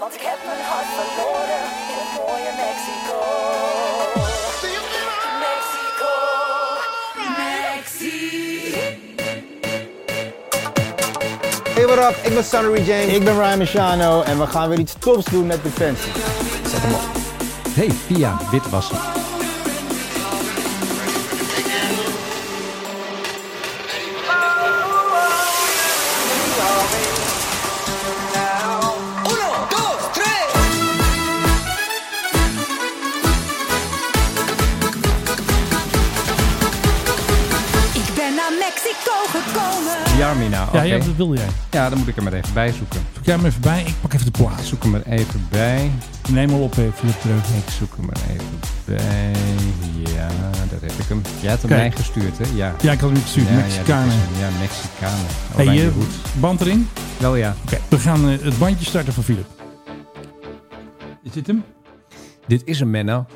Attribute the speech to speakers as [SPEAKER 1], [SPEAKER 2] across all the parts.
[SPEAKER 1] Want ik heb mijn hart verloren in het mooie Mexico. Mexico, Mexico.
[SPEAKER 2] Hey, what up? Ik ben Sunnery James. Ik ben Ryan Machano. En we gaan weer iets tops doen met Defensie. Zet hem op.
[SPEAKER 3] Hey, Pia, witwassen.
[SPEAKER 1] Ik ben naar Mexico gekomen.
[SPEAKER 3] Jarmina, oké.
[SPEAKER 4] Ja, ja, dat wilde jij.
[SPEAKER 3] Ja, dan moet ik hem er even bij zoeken.
[SPEAKER 4] Zoek jij hem even bij. Ik pak even de
[SPEAKER 3] Ik
[SPEAKER 4] plaats.
[SPEAKER 3] zoek hem er even bij.
[SPEAKER 4] Neem hem op, eh, Philip terug.
[SPEAKER 3] Ik zoek hem er even bij. Ja, daar heb ik hem. Jij had hem
[SPEAKER 4] Kijk.
[SPEAKER 3] mij gestuurd, hè? Ja.
[SPEAKER 4] Ja, ik had hem gestuurd.
[SPEAKER 3] Ja,
[SPEAKER 4] Mexicanen.
[SPEAKER 3] Ja, dat is hem. ja Mexicanen. Oh,
[SPEAKER 4] hey,
[SPEAKER 3] Oranje
[SPEAKER 4] je
[SPEAKER 3] hoed.
[SPEAKER 4] band erin.
[SPEAKER 3] Wel ja.
[SPEAKER 4] Oké, we gaan eh, het bandje starten voor Philip. Is dit hem?
[SPEAKER 3] Dit is een Menno.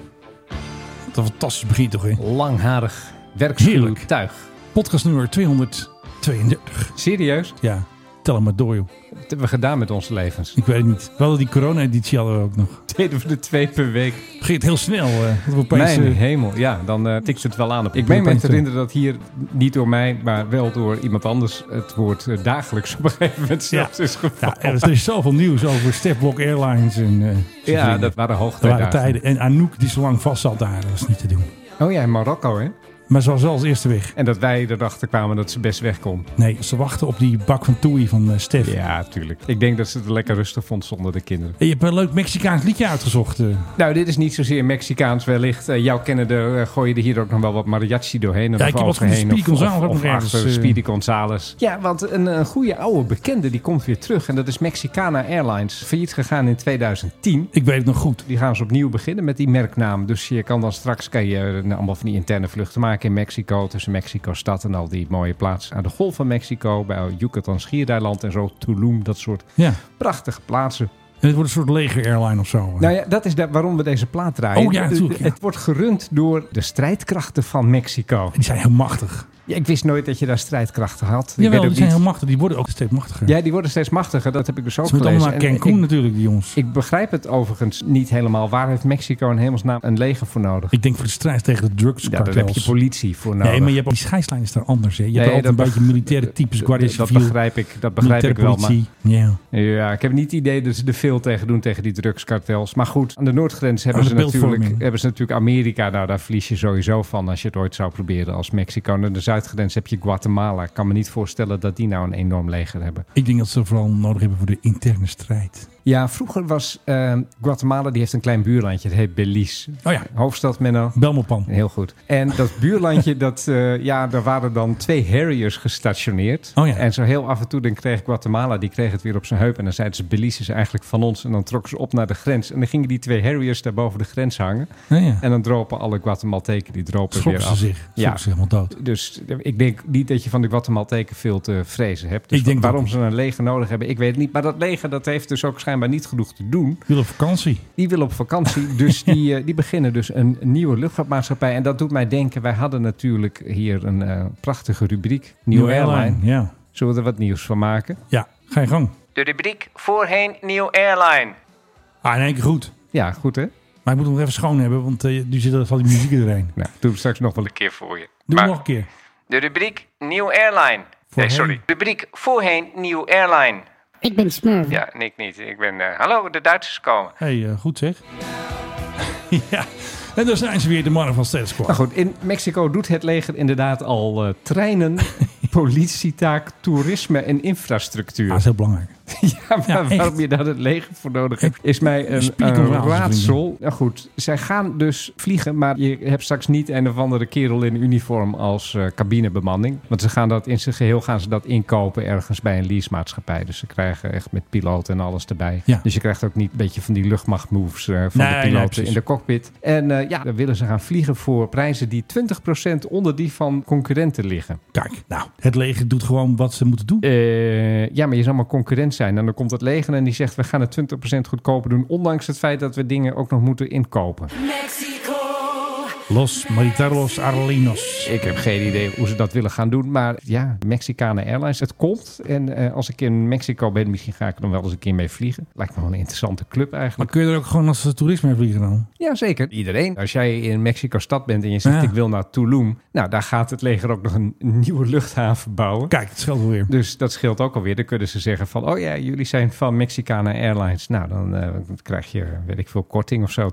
[SPEAKER 4] Wat een fantastisch begin toch, hè?
[SPEAKER 3] Langharig werkschuw
[SPEAKER 4] Heerlijk.
[SPEAKER 3] tuig.
[SPEAKER 4] Podcast nummer 232.
[SPEAKER 3] Serieus?
[SPEAKER 4] Ja, tel hem maar door, joh.
[SPEAKER 3] Wat hebben we gedaan met onze levens?
[SPEAKER 4] Ik weet het niet. We hadden die corona-editie hadden we ook nog.
[SPEAKER 3] Deden we er twee per week.
[SPEAKER 4] Het ging heel snel. eh dat we opeens,
[SPEAKER 3] Mijn
[SPEAKER 4] eh,
[SPEAKER 3] hemel, ja, dan eh tikt het wel aan. Op
[SPEAKER 4] Ik
[SPEAKER 3] ik meen me
[SPEAKER 4] ben
[SPEAKER 3] te herinneren dat hier niet door mij, maar wel door iemand anders het woord eh, dagelijks op een gegeven moment zelfs is gevallen.
[SPEAKER 4] ja, er is- er is zoveel nieuws over Stefblok Airlines en... eh,
[SPEAKER 3] Ja, dat waren
[SPEAKER 4] Er waren
[SPEAKER 3] hoogtijdagen.
[SPEAKER 4] tijden. En Anouk, die zo lang vast zat daar, dat was niet te doen.
[SPEAKER 3] Oh ja, in Marokko, hè?
[SPEAKER 4] Maar ze was wel als eerste weg.
[SPEAKER 3] En dat wij erachter kwamen dat ze best weg kon.
[SPEAKER 4] Nee, ze wachten op die bak van Toei van eh, Stef.
[SPEAKER 3] Ja, tuurlijk. Ik denk dat ze het lekker rustig vond zonder de kinderen.
[SPEAKER 4] En Je hebt een leuk Mexicaans liedje uitgezocht. eh.
[SPEAKER 3] Nou, dit is niet zozeer Mexicaans wellicht. Eh, jouw kennende eh, gooi je er hier ook nog wel wat mariachi doorheen.
[SPEAKER 4] Ja, ik heb wat van die
[SPEAKER 3] overheen
[SPEAKER 4] Speedy Gonzales
[SPEAKER 3] of,
[SPEAKER 4] ook
[SPEAKER 3] of
[SPEAKER 4] nog ergens,
[SPEAKER 3] achter
[SPEAKER 4] eh.
[SPEAKER 3] Speedy Gonzales. Ja, want een, een goede oude bekende die komt weer terug. En dat is Mexicana Airlines. Failliet gegaan in 2010.
[SPEAKER 4] Ik weet het nog goed.
[SPEAKER 3] Die gaan ze opnieuw beginnen met die merknaam. Dus je kan dan straks kan je eh, allemaal van die interne vluchten maken in Mexico. Tussen Mexico-stad en al die mooie plaatsen aan de Golf van Mexico. Bij Yucatan, Schiereiland en zo. Tulum, dat soort
[SPEAKER 4] Ja.
[SPEAKER 3] prachtige plaatsen.
[SPEAKER 4] En het wordt een soort leger-airline of zo. eh.
[SPEAKER 3] Nou ja, dat is daar waarom we deze plaat draaien.
[SPEAKER 4] Oh ja, natuurlijk, ja.
[SPEAKER 3] Het wordt gerund door de strijdkrachten van Mexico.
[SPEAKER 4] Die zijn heel machtig.
[SPEAKER 3] Ja, ik wist nooit dat je daar strijdkrachten had. Ik
[SPEAKER 4] Jawel,
[SPEAKER 3] weet
[SPEAKER 4] die
[SPEAKER 3] ook
[SPEAKER 4] zijn
[SPEAKER 3] niet.
[SPEAKER 4] heel machtig. Die worden ook steeds machtiger.
[SPEAKER 3] Ja, die worden steeds machtiger. Dat heb ik dus ook
[SPEAKER 4] Ze moeten allemaal
[SPEAKER 3] gelezen.
[SPEAKER 4] naar
[SPEAKER 3] En
[SPEAKER 4] Cancun
[SPEAKER 3] ik,
[SPEAKER 4] natuurlijk, die jongens. Ik,
[SPEAKER 3] ik begrijp het overigens niet helemaal. Waar heeft Mexico in hemelsnaam een leger voor nodig?
[SPEAKER 4] denk voor de strijd tegen de
[SPEAKER 3] Ja, daar heb je
[SPEAKER 4] drugskartels.
[SPEAKER 3] politie voor nodig.
[SPEAKER 4] nee, maar je hebt, die scheidslijn is daar anders. Hè. Je
[SPEAKER 3] Nee,
[SPEAKER 4] hebt altijd
[SPEAKER 3] dat
[SPEAKER 4] een beetje
[SPEAKER 3] beg-
[SPEAKER 4] militaire types. Guardia
[SPEAKER 3] dat
[SPEAKER 4] Civil,
[SPEAKER 3] begrijp ik, dat begrijp ik
[SPEAKER 4] militaire
[SPEAKER 3] wel. Maar
[SPEAKER 4] politie. Ja.
[SPEAKER 3] Ja, ik heb niet het idee dat ze er veel tegen doen tegen die drugskartels. Maar goed, aan de noordgrens hebben,
[SPEAKER 4] Aan
[SPEAKER 3] ze
[SPEAKER 4] de
[SPEAKER 3] natuurlijk,
[SPEAKER 4] beeldvorming.
[SPEAKER 3] hebben ze natuurlijk Amerika. Nou, daar verlies je sowieso van als je het ooit zou proberen als Mexico. En aan de zuidgrens heb je Guatemala. Ik kan me niet voorstellen dat die nou een enorm leger hebben.
[SPEAKER 4] Ik denk dat ze vooral nodig hebben voor de interne strijd.
[SPEAKER 3] Ja, vroeger was eh, Guatemala, die heeft een klein buurlandje. Het heet Belize.
[SPEAKER 4] Oh ja,
[SPEAKER 3] Hoofdstad Menno.
[SPEAKER 4] Belmopan.
[SPEAKER 3] Heel goed. En dat buurlandje, dat, eh, ja, daar waren dan twee Harriers gestationeerd.
[SPEAKER 4] Oh ja.
[SPEAKER 3] En zo heel af en toe dan kreeg Guatemala, die kreeg het weer op zijn heup. En dan zeiden ze, Belize is eigenlijk van ons. En dan trokken ze op naar de grens. En dan gingen die twee Harriers daar boven de grens hangen.
[SPEAKER 4] Nou ja.
[SPEAKER 3] En dan dropen alle Guatemalteken, die dropen
[SPEAKER 4] Sloppen
[SPEAKER 3] weer
[SPEAKER 4] ze
[SPEAKER 3] af.
[SPEAKER 4] zich. Sloppen
[SPEAKER 3] Ja.
[SPEAKER 4] ze helemaal dood.
[SPEAKER 3] Dus eh, ik denk niet dat je van de Guatemalteken veel te vrezen hebt. Dus
[SPEAKER 4] Ik denk
[SPEAKER 3] waarom
[SPEAKER 4] dat
[SPEAKER 3] ze een leger nodig hebben, ik weet het niet. Maar dat leger dat heeft dus ook schijnbaar niet genoeg te doen.
[SPEAKER 4] Jullie op vakantie.
[SPEAKER 3] Die willen op vakantie, dus die, eh, die beginnen dus een nieuwe luchtvaartmaatschappij. En dat doet mij denken, wij hadden natuurlijk hier een eh, prachtige rubriek, Nieuw Airline.
[SPEAKER 4] Ja.
[SPEAKER 3] Zullen we er wat nieuws van maken?
[SPEAKER 4] ja, ga je gang.
[SPEAKER 3] De rubriek voorheen Nieuw Airline.
[SPEAKER 4] Ah, in één keer goed.
[SPEAKER 3] Ja, goed hè?
[SPEAKER 4] Maar ik moet hem nog even schoon hebben, want eh, nu zit er al die muziek erheen.
[SPEAKER 3] Nou, doe het straks nog wel een keer voor je.
[SPEAKER 4] Doe hem nog een keer.
[SPEAKER 3] De rubriek Nieuw Airline.
[SPEAKER 4] Voorheen. sorry.
[SPEAKER 3] Rubriek voorheen Nieuw Airline.
[SPEAKER 5] Ik ben Smurf.
[SPEAKER 3] Ja, en ik niet. Ik ben, eh, hallo, de Duitsers komen.
[SPEAKER 4] hey, eh, goed zeg. ja, en daar zijn ze weer, de mannen van Status Quo.
[SPEAKER 3] Maar Nou goed, in Mexico doet het leger inderdaad al eh, treinen, politietaak, toerisme en infrastructuur.
[SPEAKER 4] Ja, dat is heel belangrijk.
[SPEAKER 3] Ja, maar
[SPEAKER 4] Ja, echt.
[SPEAKER 3] waarom je daar het leger voor nodig hebt, is mij een,
[SPEAKER 4] Spiegel
[SPEAKER 3] een
[SPEAKER 4] wel,
[SPEAKER 3] raadsel. Nou goed, zij gaan dus vliegen, maar je hebt straks niet een of andere kerel in uniform als eh, cabinebemanning. Want ze gaan dat in zijn geheel gaan ze dat inkopen ergens bij een leasemaatschappij. Dus ze krijgen echt met piloot en alles erbij.
[SPEAKER 4] Ja.
[SPEAKER 3] Dus je krijgt ook niet een beetje van die luchtmachtmoves eh, van
[SPEAKER 4] Nee,
[SPEAKER 3] de
[SPEAKER 4] nee,
[SPEAKER 3] piloten
[SPEAKER 4] precies.
[SPEAKER 3] in de cockpit. En eh, ja, dan willen ze gaan vliegen voor prijzen die 20% onder die van concurrenten liggen.
[SPEAKER 4] Kijk, nou, het leger doet gewoon wat ze moeten doen.
[SPEAKER 3] Eh, ja, maar je zou maar concurrent zijn. En dan komt het leger en die zegt... we gaan het 20% goedkoper doen... ondanks het feit dat we dingen ook nog moeten inkopen.
[SPEAKER 1] Mexico,
[SPEAKER 4] Los Militaros Arlinos.
[SPEAKER 3] Ik heb geen idee hoe ze dat willen gaan doen. Maar ja, Mexicane Airlines, het komt. En eh, als ik in Mexico ben, misschien ga ik er nog wel eens een keer mee vliegen. Lijkt me wel een interessante club
[SPEAKER 4] Maar
[SPEAKER 3] eigenlijk.
[SPEAKER 4] kun je er ook gewoon als eh, toerist mee vliegen dan?
[SPEAKER 3] Ja, zeker. Iedereen. Als jij in Mexico-stad bent en je zegt
[SPEAKER 4] Ja.
[SPEAKER 3] ik wil naar Tulum. Nou, daar gaat het leger ook nog een nieuwe luchthaven bouwen.
[SPEAKER 4] Kijk, het scheelt wel weer.
[SPEAKER 3] Dus dat scheelt ook alweer. Dan kunnen ze zeggen van, oh ja, jullie zijn van Mexicana Airlines. Nou, dan eh, krijg je, weet ik veel, korting of zo,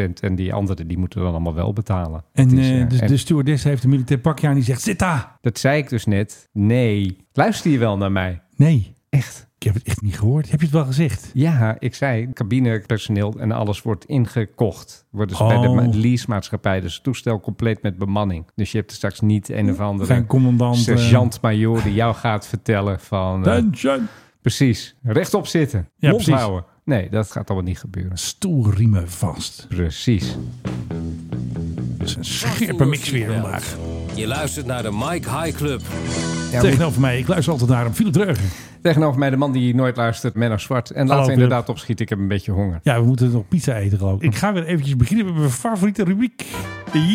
[SPEAKER 3] 20%. En die anderen, die moeten dan allemaal wel betalen.
[SPEAKER 4] En
[SPEAKER 3] Het is,
[SPEAKER 4] eh,
[SPEAKER 3] eh,
[SPEAKER 4] dus
[SPEAKER 3] en
[SPEAKER 4] de stewardess heeft een militair pakje aan die zegt, zit daar!
[SPEAKER 3] dat zei ik dus net. Nee, luister je wel naar mij?
[SPEAKER 4] Nee,
[SPEAKER 3] Echt?
[SPEAKER 4] ik heb het echt niet gehoord. Heb je het wel gezegd?
[SPEAKER 3] Ja, ik zei, cabinepersoneel en alles wordt ingekocht. Worden ze bij de
[SPEAKER 4] Oh.
[SPEAKER 3] ma- leasemaatschappij, dus het toestel compleet met bemanning. Dus je hebt er straks niet een of andere
[SPEAKER 4] Zijn commandant... eh,
[SPEAKER 3] sergeant-majoor die jou gaat vertellen van... eh,
[SPEAKER 4] Attention!
[SPEAKER 3] Precies. Rechtop zitten.
[SPEAKER 4] Ja,
[SPEAKER 3] Mond
[SPEAKER 4] precies.
[SPEAKER 3] houden. Nee, dat gaat allemaal niet gebeuren.
[SPEAKER 4] Stoelriemen vast.
[SPEAKER 3] Precies.
[SPEAKER 4] Dat is een scherpe mix weer vandaag.
[SPEAKER 5] Je luistert naar de Mike High Club.
[SPEAKER 4] Tegenover mij, ik luister altijd naar hem. Philip Dreugen.
[SPEAKER 3] Tegenover mij de man die nooit luistert, Menno Zwart. En laten we
[SPEAKER 4] Philip.
[SPEAKER 3] inderdaad opschieten, ik heb een beetje honger.
[SPEAKER 4] Ja, we moeten nog pizza eten geloof ik. Ik ga weer eventjes beginnen met mijn favoriete rubriek.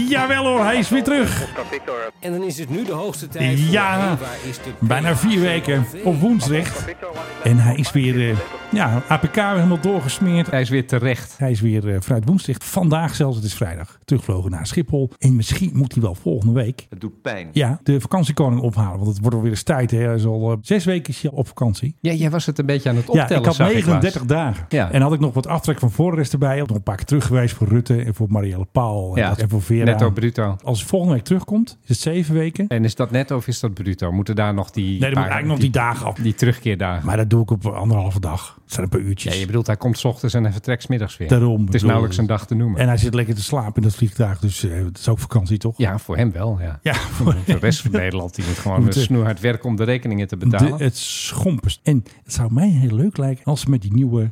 [SPEAKER 4] Jawel hoor, hij is weer terug.
[SPEAKER 5] En dan is het nu de hoogste tijd.
[SPEAKER 4] Ja.
[SPEAKER 5] Hey, waar is de
[SPEAKER 4] Bijna vier weken op woensdag. En hij is weer, eh, ja, APK weer helemaal doorgesmeerd.
[SPEAKER 3] Hij is weer terecht.
[SPEAKER 4] Hij is weer eh, vanuit woensdag. Vandaag zelfs, het is vrijdag. Teruggevlogen naar Schiphol. En misschien moet hij wel volgende week.
[SPEAKER 6] Het doet pijn.
[SPEAKER 4] Ja, de vakantiekoning ophalen. Want het wordt alweer eens tijd. Hè. Hij is al eh, zes weken is hij al op vakantie.
[SPEAKER 3] Ja, jij was het een beetje aan het optellen,
[SPEAKER 4] ja, ik had
[SPEAKER 3] zag
[SPEAKER 4] 39
[SPEAKER 3] laatst.
[SPEAKER 4] dagen.
[SPEAKER 3] Ja.
[SPEAKER 4] En had ik nog wat aftrek van voorrest erbij. Nog een paar keer terug geweest voor Rutte en voor Marielle Paal en,
[SPEAKER 3] Ja,
[SPEAKER 4] en voor Vera.
[SPEAKER 3] netto bruto.
[SPEAKER 4] Als hij volgende week terugkomt, is het zeven weken.
[SPEAKER 3] En is dat netto of is dat bruto? Moeten daar nog die...
[SPEAKER 4] Nee, dan moet
[SPEAKER 3] paar-
[SPEAKER 4] eigenlijk nog die dagen af.
[SPEAKER 3] Die terugkeerdagen.
[SPEAKER 4] Maar dat doe ik op anderhalve dag. Het zijn een paar uurtjes.
[SPEAKER 3] ja, je bedoelt, hij komt 's ochtends en hij vertrekt 's middags weer.
[SPEAKER 4] Daarom
[SPEAKER 3] Het is
[SPEAKER 4] bedoel-
[SPEAKER 3] nauwelijks een dag te noemen.
[SPEAKER 4] En hij zit lekker te slapen in dat vliegtuig. Dus eh dat is ook vakantie, toch?
[SPEAKER 3] Ja, voor hem wel, ja.
[SPEAKER 4] Ja,
[SPEAKER 3] Voor de rest van Nederland, die moet gewoon
[SPEAKER 4] Moet, eh,
[SPEAKER 3] snoeihard werken om de rekeningen te
[SPEAKER 4] De-
[SPEAKER 3] betalen.
[SPEAKER 4] het schompers. En het zou mij heel leuk lijken als ze met die nieuwe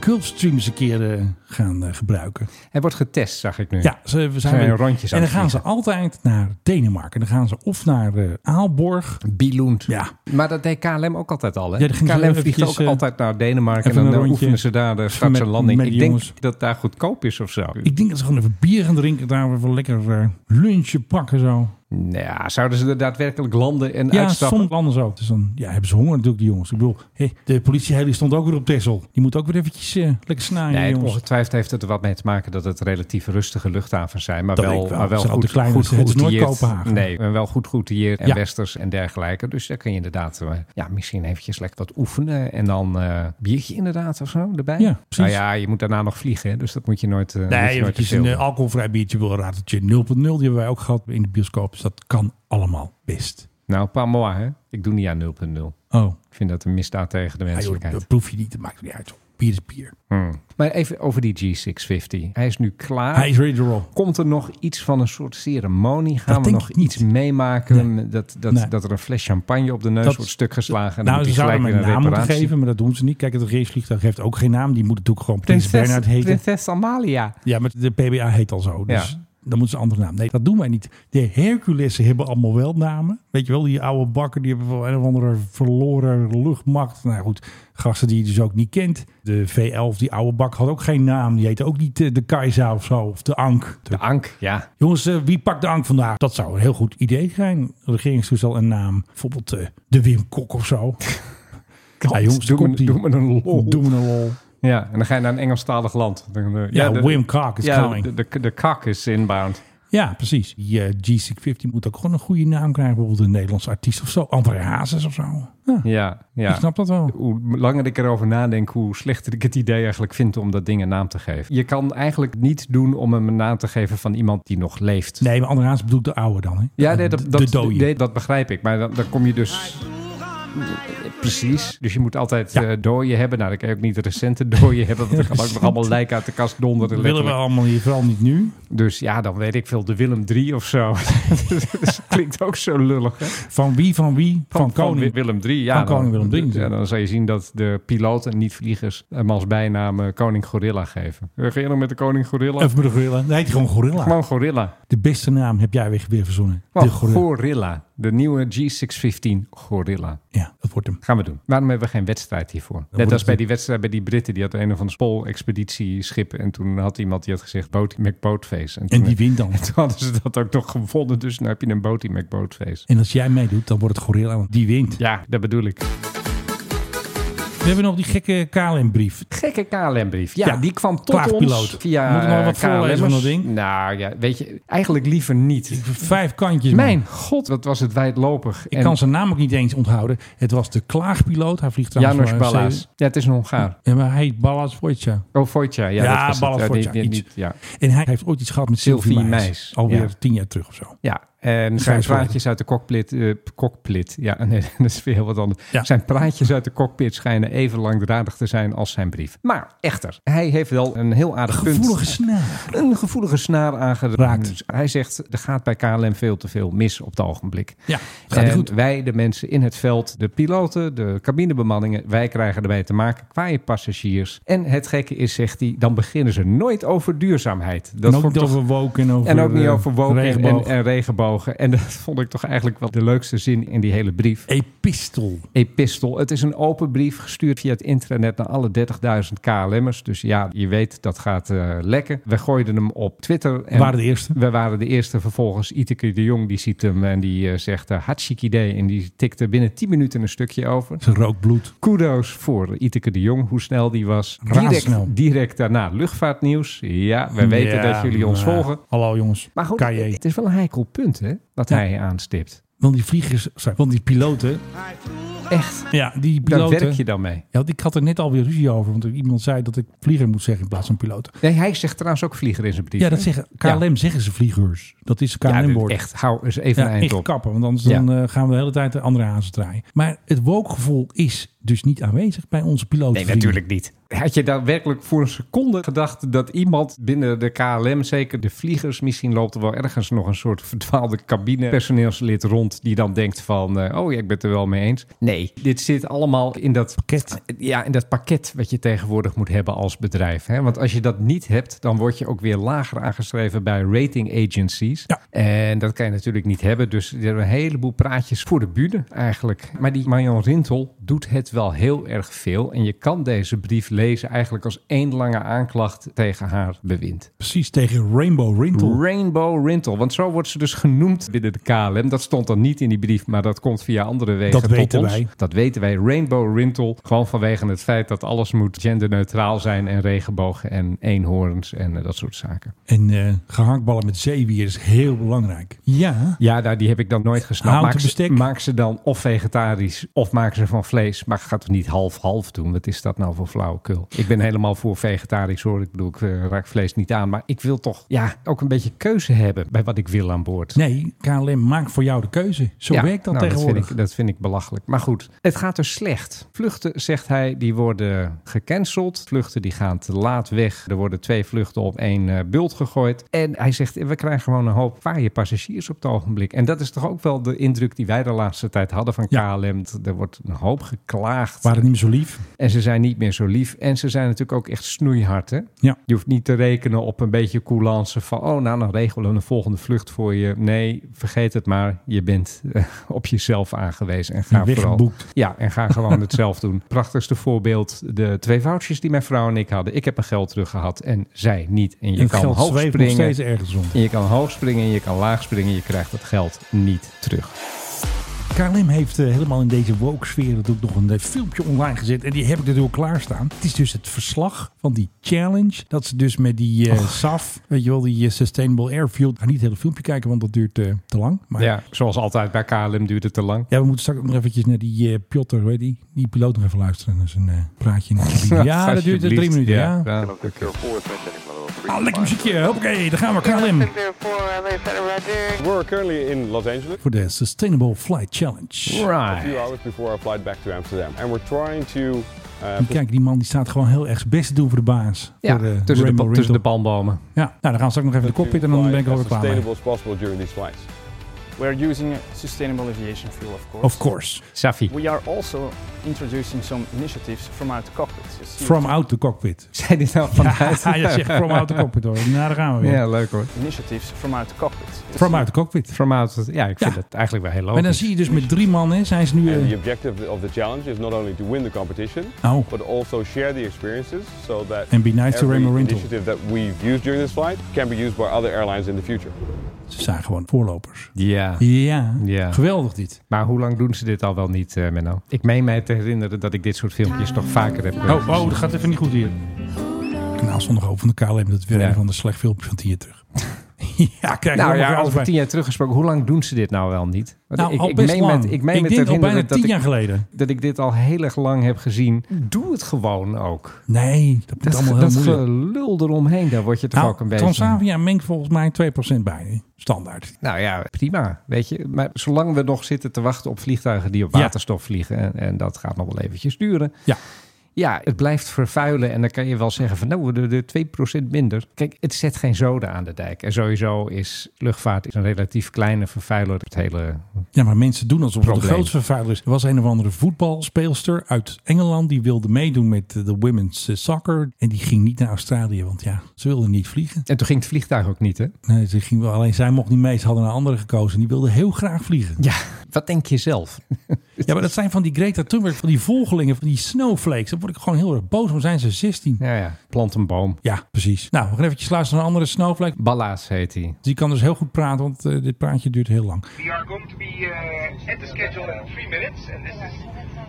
[SPEAKER 4] Gulfstream eens een keer eh, gaan eh, gebruiken.
[SPEAKER 3] Hij wordt getest, zag ik nu.
[SPEAKER 4] Ja, ze we zijn
[SPEAKER 3] Zijn
[SPEAKER 4] weer-
[SPEAKER 3] rondjes
[SPEAKER 4] En
[SPEAKER 3] aan
[SPEAKER 4] dan
[SPEAKER 3] het
[SPEAKER 4] gaan ze altijd naar Denemarken. Dan gaan ze of naar eh, Aalborg.
[SPEAKER 3] Biloend.
[SPEAKER 4] Ja.
[SPEAKER 3] Maar dat deed KLM ook altijd al. Hè?
[SPEAKER 4] Ja, dan gingen ze
[SPEAKER 3] KLM vliegt
[SPEAKER 4] eventjes,
[SPEAKER 3] ook
[SPEAKER 4] eh,
[SPEAKER 3] altijd naar Denemarken. En
[SPEAKER 4] even
[SPEAKER 3] dan
[SPEAKER 4] een
[SPEAKER 3] eh,
[SPEAKER 4] rondje.
[SPEAKER 3] oefenen ze daar de straks
[SPEAKER 4] Met-
[SPEAKER 3] een landing.
[SPEAKER 4] met
[SPEAKER 3] Ik
[SPEAKER 4] die
[SPEAKER 3] denk
[SPEAKER 4] jongens.
[SPEAKER 3] dat daar goedkoop is of zo.
[SPEAKER 4] Ik denk dat ze gewoon even bier gaan drinken. Daar weer wel lekker eh, lunchje pakken zo.
[SPEAKER 3] Nou ja, zouden ze er daadwerkelijk landen en
[SPEAKER 4] Ja,
[SPEAKER 3] uitstappen?
[SPEAKER 4] soms anders ook. Dus dan ja, hebben ze honger natuurlijk, die jongens. Ik bedoel, hé, de politie die stond ook weer op Texel. Die moet ook weer eventjes eh, lekker snijden,
[SPEAKER 3] Nee,
[SPEAKER 4] jongens.
[SPEAKER 3] ongetwijfeld heeft het er wat mee te maken dat het relatief rustige luchthavens zijn. Maar
[SPEAKER 4] Dat
[SPEAKER 3] wel,
[SPEAKER 4] ik wel.
[SPEAKER 3] Maar wel
[SPEAKER 4] Ze zijn
[SPEAKER 3] goed,
[SPEAKER 4] altijd klein,
[SPEAKER 3] goed
[SPEAKER 4] dus het is nooit
[SPEAKER 3] geoutilleerd.
[SPEAKER 4] Kopenhagen.
[SPEAKER 3] Nee, maar wel goed geoutilleerd en
[SPEAKER 4] Ja.
[SPEAKER 3] westers en dergelijke. Dus daar kun je inderdaad eh, ja, misschien eventjes lekker wat oefenen. En dan eh biertje inderdaad of zo erbij.
[SPEAKER 4] Ja, precies.
[SPEAKER 3] Nou ja, je moet daarna nog vliegen. hè, Dus dat moet je nooit, eh, moet
[SPEAKER 4] Nee,
[SPEAKER 3] je nooit te
[SPEAKER 4] eventjes
[SPEAKER 3] veel
[SPEAKER 4] een
[SPEAKER 3] doen.
[SPEAKER 4] eh, alcoholvrij biertje wil radertje 0.0. Die hebben wij ook gehad in de bioscoop. Dus dat kan allemaal best.
[SPEAKER 3] Nou, pas moi, hè? Ik doe niet aan 0.0.
[SPEAKER 4] Oh,
[SPEAKER 3] Ik vind dat een misdaad tegen de
[SPEAKER 4] ja, joh,
[SPEAKER 3] menselijkheid.
[SPEAKER 4] dat proef je niet. Dat maakt niet uit. joh. Bier is bier.
[SPEAKER 3] Hmm. Maar even over die G650. Hij is nu klaar.
[SPEAKER 4] Hij is ready to roll.
[SPEAKER 3] Komt er nog iets van een soort ceremonie? Gaan
[SPEAKER 4] Dat
[SPEAKER 3] we
[SPEAKER 4] denk
[SPEAKER 3] nog
[SPEAKER 4] ik niet.
[SPEAKER 3] iets meemaken? Dat, dat,
[SPEAKER 4] Nee.
[SPEAKER 3] dat er een fles champagne op de neus
[SPEAKER 4] Dat-
[SPEAKER 3] wordt stuk geslagen. En
[SPEAKER 4] nou,
[SPEAKER 3] dan
[SPEAKER 4] ze
[SPEAKER 3] moet hij
[SPEAKER 4] zouden
[SPEAKER 3] gelijk
[SPEAKER 4] hem
[SPEAKER 3] weer
[SPEAKER 4] een
[SPEAKER 3] een
[SPEAKER 4] naam moeten
[SPEAKER 3] reparatie.
[SPEAKER 4] geven, maar dat doen ze niet. Kijk, het regeringsvliegtuig heeft ook geen naam. Die moet natuurlijk gewoon Prins Bernhard heten.
[SPEAKER 3] Prinses Amalia.
[SPEAKER 4] Ja, maar de PBA heet al zo. Dus
[SPEAKER 3] Ja.
[SPEAKER 4] dan moeten ze een andere naam. Nee, dat doen wij niet. De Herculessen hebben allemaal wel namen. Weet je wel, die oude bakken, die hebben wel een of andere verloren luchtmacht. Nou goed, gasten die je dus ook niet kent. De V11, die oude bak, had ook geen naam. Die heette ook niet eh, de Kaiser of zo, of de Ank.
[SPEAKER 3] De Ank, ja.
[SPEAKER 4] Jongens, eh, wie pakt de Ank vandaag? Dat zou een heel goed idee zijn. Regeringstoestel een naam. Bijvoorbeeld eh, de Wim Kok of zo. ja, jongens,
[SPEAKER 3] doe, me,
[SPEAKER 4] komt-ie.
[SPEAKER 3] doe me een lol.
[SPEAKER 4] Doe me een lol.
[SPEAKER 3] Ja, en dan ga je naar een Engelstalig land. Dan, eh,
[SPEAKER 4] Ja,
[SPEAKER 3] de-
[SPEAKER 4] Wim Kok is
[SPEAKER 3] Ja,
[SPEAKER 4] coming.
[SPEAKER 3] de, de, de kak is inbound.
[SPEAKER 4] Ja, precies. Die eh, G650 moet ook gewoon een goede naam krijgen. Bijvoorbeeld een Nederlands artiest of zo. André Hazes of zo. Ja,
[SPEAKER 3] Ja, ja.
[SPEAKER 4] Ik snap dat wel.
[SPEAKER 3] hoe langer ik erover nadenk, hoe slechter ik het idee eigenlijk vind om dat ding een naam te geven. Je kan eigenlijk niet doen om hem een naam te geven van iemand die nog leeft.
[SPEAKER 4] Nee, maar André Hazes bedoelt de oude dan. Hè?
[SPEAKER 3] Ja, nee, dat,
[SPEAKER 4] De-
[SPEAKER 3] dat,
[SPEAKER 4] de dode.
[SPEAKER 3] nee, dat begrijp ik. Maar dan, dan kom je dus... Precies. Dus je moet altijd eh dooien hebben. Nou, dan kan je ook niet recente dooien hebben. Want dan kan ook nog allemaal lijken uit de kast donderen.
[SPEAKER 4] willen we
[SPEAKER 3] letterlijk.
[SPEAKER 4] allemaal hier vooral niet nu.
[SPEAKER 3] Dus ja, dan weet ik veel. De Willem 3 of zo. dat klinkt ook zo lullig. Hè?
[SPEAKER 4] Van wie, van wie? Van, koning.
[SPEAKER 3] Willem III. Ja,
[SPEAKER 4] Van koning
[SPEAKER 3] dan-
[SPEAKER 4] Willem III.
[SPEAKER 3] Ja, dan zal je zien dat de piloten en niet-vliegers hem als bijnaam eh, Koning Gorilla geven. Eh, Ga je nog met de Koning Gorilla?
[SPEAKER 4] Even met de gorilla. Nee, heet hij gewoon gorilla.
[SPEAKER 3] Gewoon Gorilla.
[SPEAKER 4] De beste naam heb jij weer, weer verzonnen.
[SPEAKER 3] Gewoon
[SPEAKER 4] de gorilla.
[SPEAKER 3] gorilla. De nieuwe G615 Gorilla.
[SPEAKER 4] Ja, dat wordt hem.
[SPEAKER 3] Gaan we doen. Waarom hebben we geen wedstrijd hiervoor? Net
[SPEAKER 4] wordt
[SPEAKER 3] als bij
[SPEAKER 4] het-
[SPEAKER 3] die wedstrijd bij die Britten. Die had een of ander spool-expeditieschip. En toen had iemand die had gezegd boot, McBoatface.
[SPEAKER 4] En
[SPEAKER 3] toen-
[SPEAKER 4] die wint dan.
[SPEAKER 3] en toen hadden ze dat ook nog gevonden. Dus dan heb je een booty McBoatface.
[SPEAKER 4] En als jij meedoet, dan wordt het gorilla, want die wint.
[SPEAKER 3] Ja, dat bedoel ik.
[SPEAKER 4] We hebben nog die gekke KLM-brief.
[SPEAKER 3] Gekke KLM-brief. Ja,
[SPEAKER 4] Ja,
[SPEAKER 3] die kwam tot
[SPEAKER 4] klaagpiloot.
[SPEAKER 3] ons via
[SPEAKER 4] Moeten we nog wat
[SPEAKER 3] eh,
[SPEAKER 4] voorlezen van dat
[SPEAKER 3] KLM'ers.
[SPEAKER 4] ding?
[SPEAKER 3] Nou ja, weet je, eigenlijk liever niet.
[SPEAKER 4] Vijf kantjes. man.
[SPEAKER 3] Mijn god, wat was het wijdlopig.
[SPEAKER 4] Ik kan zijn naam ook niet eens onthouden. Het was de klaagpiloot. Hij vliegt trouwens
[SPEAKER 3] Janos
[SPEAKER 4] voor, eh,
[SPEAKER 3] Ballas. Ja, het is een Hongaar.
[SPEAKER 4] zeven- Ja, maar hij heet Ballas Vojtja.
[SPEAKER 3] Oh, Vojtja. Ja,
[SPEAKER 4] Ja,
[SPEAKER 3] dat was het.
[SPEAKER 4] Ballas
[SPEAKER 3] Eh, die-
[SPEAKER 4] Vojtja,
[SPEAKER 3] die-
[SPEAKER 4] iets.
[SPEAKER 3] niet- ja.
[SPEAKER 4] En hij heeft ooit iets gehad met Sylvie,
[SPEAKER 3] Sylvie
[SPEAKER 4] Meis.
[SPEAKER 3] Meis,
[SPEAKER 4] Alweer
[SPEAKER 3] ja.
[SPEAKER 4] tien jaar terug of zo.
[SPEAKER 3] ja, en zijn
[SPEAKER 4] Grijs
[SPEAKER 3] praatjes uit de cockpit... eh, cockpit. Ja, nee, dat is weer heel wat anders.
[SPEAKER 4] Ja.
[SPEAKER 3] Zijn praatjes uit de cockpit schijnen even langdradig te zijn als zijn brief. Maar, echter, hij heeft wel een heel aardig punt.
[SPEAKER 4] Gevoelige snaar.
[SPEAKER 3] een gevoelige snaar aangeraakt.
[SPEAKER 4] Raakt.
[SPEAKER 3] Hij zegt, er gaat bij KLM veel te veel mis op het ogenblik.
[SPEAKER 4] Ja, gaat
[SPEAKER 3] en
[SPEAKER 4] goed.
[SPEAKER 3] wij, de mensen in het veld, de piloten, de cabinebemanningen, wij krijgen erbij te maken kwaaie passagiers. En het gekke is, zegt hij, dan beginnen ze nooit over duurzaamheid.
[SPEAKER 4] Dat en ook
[SPEAKER 3] vond
[SPEAKER 4] niet
[SPEAKER 3] ik toch-
[SPEAKER 4] over woken en over
[SPEAKER 3] en ook niet
[SPEAKER 4] eh,
[SPEAKER 3] over woken en-
[SPEAKER 4] regenboog.
[SPEAKER 3] En, regenbogen. En dat vond ik toch eigenlijk wel de leukste zin in die hele brief.
[SPEAKER 4] Epistel.
[SPEAKER 3] Epistel. Het is een open brief gestuurd via het intranet naar alle 30.000 KLM'ers. Dus ja, je weet, dat gaat eh, lekker. We gooiden hem op Twitter.
[SPEAKER 4] We waren de eerste.
[SPEAKER 3] We waren de eerste. Vervolgens Iteke de Jong, die ziet hem en die eh, zegt uh, hartstikke idee. En die tikte binnen 10 minuten een stukje over.
[SPEAKER 4] Ze rookt bloed.
[SPEAKER 3] Kudos voor Iteke de Jong, hoe snel die was.
[SPEAKER 4] Razendsnel.
[SPEAKER 3] Direct, direct daarna luchtvaartnieuws. Ja, we weten
[SPEAKER 4] Ja,
[SPEAKER 3] dat jullie ons
[SPEAKER 4] maar-
[SPEAKER 3] volgen.
[SPEAKER 4] Hallo jongens.
[SPEAKER 3] Maar goed,
[SPEAKER 4] KJ.
[SPEAKER 3] het is wel een heikel punt hè, wat
[SPEAKER 4] Ja.
[SPEAKER 3] hij aanstipt.
[SPEAKER 4] Want die vliegers, sorry, want die piloten.
[SPEAKER 3] Echt,
[SPEAKER 4] Ja, die
[SPEAKER 3] daar
[SPEAKER 4] piloten.
[SPEAKER 3] werk je dan mee.
[SPEAKER 4] Ja, want ik had er net alweer ruzie over. Want iemand zei dat ik vlieger moet zeggen in plaats van piloot.
[SPEAKER 3] Nee, hij zegt trouwens ook vlieger in zijn brief.
[SPEAKER 4] Ja,
[SPEAKER 3] hè?
[SPEAKER 4] dat zeggen KLM zeggen ze vliegers. Dat is
[SPEAKER 3] Ja, dit-
[SPEAKER 4] KLM-woord.
[SPEAKER 3] echt, hou eens even
[SPEAKER 4] Ja,
[SPEAKER 3] een eind
[SPEAKER 4] echt
[SPEAKER 3] op.
[SPEAKER 4] kappen, want anders
[SPEAKER 3] Ja.
[SPEAKER 4] dan, eh, gaan we de hele tijd de andere hazen draaien. Maar het wookgevoel is dus niet aanwezig bij onze piloten.
[SPEAKER 3] Nee, natuurlijk niet. Had je daar werkelijk voor een seconde gedacht dat iemand binnen de KLM, zeker de vliegers, misschien loopt er wel ergens nog een soort verdwaalde cabinepersoneelslid rond die dan denkt van, eh, oh ja, ik ben het er wel mee eens. Nee, dit zit allemaal in dat
[SPEAKER 4] Pakket.
[SPEAKER 3] Ja, in dat pakket wat je tegenwoordig moet hebben als bedrijf. Hè? Want als je dat niet hebt, dan word je ook weer lager aangeschreven bij rating agencies.
[SPEAKER 4] Ja.
[SPEAKER 3] En dat kan je natuurlijk niet hebben. Dus er zijn een heleboel praatjes voor de bühne eigenlijk. Maar die Marion Rintel doet het wel heel erg veel. En je kan deze brief lezen eigenlijk als één lange aanklacht tegen haar bewind.
[SPEAKER 4] Precies tegen Rainbow Rintel.
[SPEAKER 3] Rainbow Rintel. Want zo wordt ze dus genoemd binnen de KLM. Dat stond dan niet in die brief, maar dat komt via andere wegen.
[SPEAKER 4] Dat
[SPEAKER 3] tot
[SPEAKER 4] weten
[SPEAKER 3] ons.
[SPEAKER 4] wij.
[SPEAKER 3] Dat weten wij. Rainbow Rintel. Gewoon vanwege het feit dat alles moet genderneutraal zijn. En regenbogen en eenhoorns en eh, dat soort zaken.
[SPEAKER 4] En eh gehaktballen met zeewier is heel belangrijk. Ja,
[SPEAKER 3] Ja, nou, die heb ik dan nooit gesnapt.
[SPEAKER 4] Houten
[SPEAKER 3] Maak ze,
[SPEAKER 4] bestek.
[SPEAKER 3] maak ze dan of vegetarisch of maak ze van vlees. Maar gaat het niet half-half doen? Wat is dat nou voor flauwekul? Ik ben helemaal voor vegetarisch hoor. Ik bedoel, ik eh, raak vlees niet aan. Maar ik wil toch ja, ook een beetje keuze hebben bij wat ik wil aan boord.
[SPEAKER 4] nee, KLM maakt voor jou de keuze. Zo
[SPEAKER 3] Ja,
[SPEAKER 4] werkt dat
[SPEAKER 3] nou,
[SPEAKER 4] tegenwoordig.
[SPEAKER 3] vind, ik, dat vind ik belachelijk. Maar goed, het gaat er slecht. Vluchten, zegt hij, die worden gecanceld. Vluchten die gaan te laat weg. Er worden twee vluchten op één eh, bult gegooid. En hij zegt, we krijgen gewoon een hoop kwaaie passagiers op het ogenblik. En dat is toch ook wel de indruk die wij de laatste tijd hadden van
[SPEAKER 4] Ja.
[SPEAKER 3] KLM. Er wordt een hoop geklaagd.
[SPEAKER 4] Waren niet meer zo lief.
[SPEAKER 3] En ze zijn niet meer zo lief. En ze zijn natuurlijk ook echt snoeihard. Hè?
[SPEAKER 4] Ja.
[SPEAKER 3] Je hoeft niet te rekenen op een beetje coulance van... oh, nou, dan regelen we een volgende vlucht voor je. Nee, vergeet het maar. Je bent eh, op jezelf aangewezen. En ga
[SPEAKER 4] En
[SPEAKER 3] vooral...
[SPEAKER 4] weggeboekt.
[SPEAKER 3] Ja, en ga gewoon het zelf doen. Prachtigste voorbeeld. De twee vouchers die mijn vrouw en ik hadden. Ik heb mijn geld teruggehad en zij niet. En je
[SPEAKER 4] het
[SPEAKER 3] kan
[SPEAKER 4] geld
[SPEAKER 3] hoog
[SPEAKER 4] zweeft nog
[SPEAKER 3] springen.
[SPEAKER 4] steeds ergens om.
[SPEAKER 3] En je kan hoog springen en je kan laag springen. Je krijgt dat geld niet terug.
[SPEAKER 4] KLM heeft eh, helemaal in deze woke sfeer natuurlijk nog een eh, filmpje online gezet. En die heb ik natuurlijk klaarstaan. Het is dus het verslag van die challenge. Dat ze dus met die
[SPEAKER 3] Oh.
[SPEAKER 4] eh SAF, weet je wel, die eh, Sustainable Airfield. Ga niet het hele filmpje kijken, want dat duurt eh, te lang. Maar ja.
[SPEAKER 3] Ja, zoals altijd bij KLM duurt het te lang.
[SPEAKER 4] we moeten straks ook nog eventjes naar die eh Piotr, weet die, die piloot nog even luisteren. Dat is een eh, praatje in de cabine. Ja, dat duurt eh, drie
[SPEAKER 3] Alsjeblieft.
[SPEAKER 4] minuten. Ja.
[SPEAKER 3] ja.
[SPEAKER 4] Ah, lekker muziekje. Hoppakee, daar gaan we KLM.
[SPEAKER 6] We're currently in Los Angeles,
[SPEAKER 4] Voor de Sustainable Flight Challenge.
[SPEAKER 6] a
[SPEAKER 3] Right.
[SPEAKER 6] few hours before our flight back to Amsterdam, and we're trying to. Uh,
[SPEAKER 4] En Kijk, die man die staat gewoon heel erg zijn best te doen voor de baas.
[SPEAKER 3] Ja,
[SPEAKER 4] Voor, eh,
[SPEAKER 3] tussen, de,
[SPEAKER 4] Rainbow
[SPEAKER 3] pa- tussen de
[SPEAKER 4] Rintel.
[SPEAKER 3] palmbomen.
[SPEAKER 4] Ja, nou, dan gaan we straks nog even de
[SPEAKER 6] to
[SPEAKER 4] cockpit en dan
[SPEAKER 6] fly
[SPEAKER 4] ben ik er
[SPEAKER 6] as
[SPEAKER 4] alweer klaar mee.
[SPEAKER 6] sustainable as possible during these flights.
[SPEAKER 7] We're using sustainable aviation fuel, of course.
[SPEAKER 4] Of course.
[SPEAKER 3] Safi,
[SPEAKER 7] We are also introducing some initiatives from out the cockpit.
[SPEAKER 4] From out the cockpit.
[SPEAKER 3] zei dit nou vanuit?
[SPEAKER 4] Ja, je zegt from out the cockpit hoor. Nou, daar gaan we weer.
[SPEAKER 3] Ja, leuk hoor.
[SPEAKER 7] Initiatives from out the cockpit.
[SPEAKER 4] From out the cockpit.
[SPEAKER 3] From out, ja, ik vind
[SPEAKER 4] Ja.
[SPEAKER 3] het eigenlijk wel heel
[SPEAKER 4] Maar dan
[SPEAKER 3] logisch.
[SPEAKER 4] zie je dus met drie man, hè, zijn ze nu...
[SPEAKER 6] And the
[SPEAKER 4] eh,
[SPEAKER 6] objective of the challenge is not only to win the competition,
[SPEAKER 4] Oh,
[SPEAKER 6] but also share the experiences so that
[SPEAKER 4] And be nice to
[SPEAKER 6] every
[SPEAKER 4] Raymond Rintel.
[SPEAKER 6] initiative that we've used during this flight can be used by other airlines in the future.
[SPEAKER 4] ze zijn gewoon voorlopers.
[SPEAKER 3] Ja.
[SPEAKER 4] Ja,
[SPEAKER 3] Ja.
[SPEAKER 4] geweldig dit.
[SPEAKER 3] Maar hoe lang doen ze dit al wel niet, eh Menno? Ik meen mij te herinneren dat ik dit soort filmpjes toch vaker heb eh,
[SPEAKER 4] Oh, oh, dat gaat even niet goed hier. Kanaal stond nog open van de KLM. Dat weer
[SPEAKER 3] Ja.
[SPEAKER 4] een van de slecht filmpjes van tien jaar terug. ja, kijk.
[SPEAKER 3] Nou ja,
[SPEAKER 4] alles
[SPEAKER 3] over
[SPEAKER 4] bij.
[SPEAKER 3] tien jaar teruggesproken, hoe lang doen ze dit nou wel niet? Want
[SPEAKER 4] Nou, al best
[SPEAKER 3] meen
[SPEAKER 4] lang.
[SPEAKER 3] met- ik meen me te
[SPEAKER 4] denk al
[SPEAKER 3] herinneren dat
[SPEAKER 4] bijna tien
[SPEAKER 3] ik,
[SPEAKER 4] jaar geleden.
[SPEAKER 3] dat ik dit al heel erg lang heb gezien. Doe het gewoon ook.
[SPEAKER 4] Nee, dat,
[SPEAKER 3] Dat,
[SPEAKER 4] moet allemaal
[SPEAKER 3] dat
[SPEAKER 4] heel moeilijk.
[SPEAKER 3] gelul eromheng, daar word je toch
[SPEAKER 4] Nou,
[SPEAKER 3] ook een beetje...
[SPEAKER 4] Transavia mengt volgens mij 2% bij. Standaard.
[SPEAKER 3] Nou ja, prima, weet je. Maar zolang we nog zitten te wachten op vliegtuigen die op
[SPEAKER 4] Ja.
[SPEAKER 3] waterstof vliegen... En, en dat gaat nog wel eventjes duren...
[SPEAKER 4] Ja.
[SPEAKER 3] Ja, het blijft vervuilen en dan kan je wel zeggen van nou, de, de 2% minder. Kijk, het zet geen zoden aan de dijk. En sowieso is luchtvaart is een relatief kleine vervuiler. Het hele
[SPEAKER 4] Ja, maar mensen doen alsof het de
[SPEAKER 3] Probleem.
[SPEAKER 4] grootste vervuiler is. Er was een of andere voetbalspeelster uit Engeland. Die wilde meedoen met eh, de women's eh, soccer. En die ging niet naar Australië, want ja, ze wilde niet vliegen.
[SPEAKER 3] En toen ging het vliegtuig ook niet, hè?
[SPEAKER 4] Nee, ze ging wel, alleen zij mocht niet mee. Ze hadden een andere gekozen. en Die wilde heel graag vliegen.
[SPEAKER 3] Ja, wat denk je zelf?
[SPEAKER 4] Ja, maar dat zijn van die Greta Thunberg, van die volgelingen, van die snowflakes. Daar word ik gewoon heel erg boos om. Zijn ze 16?
[SPEAKER 3] Ja, ja. Plant een boom.
[SPEAKER 4] Ja, precies. Nou, we gaan eventjes luisteren naar een andere snowflake.
[SPEAKER 3] Balla's heet hij.
[SPEAKER 4] Die kan dus heel goed praten, want eh, dit praatje duurt heel lang.
[SPEAKER 8] We are going to be uh, at the schedule in three minutes, and this is,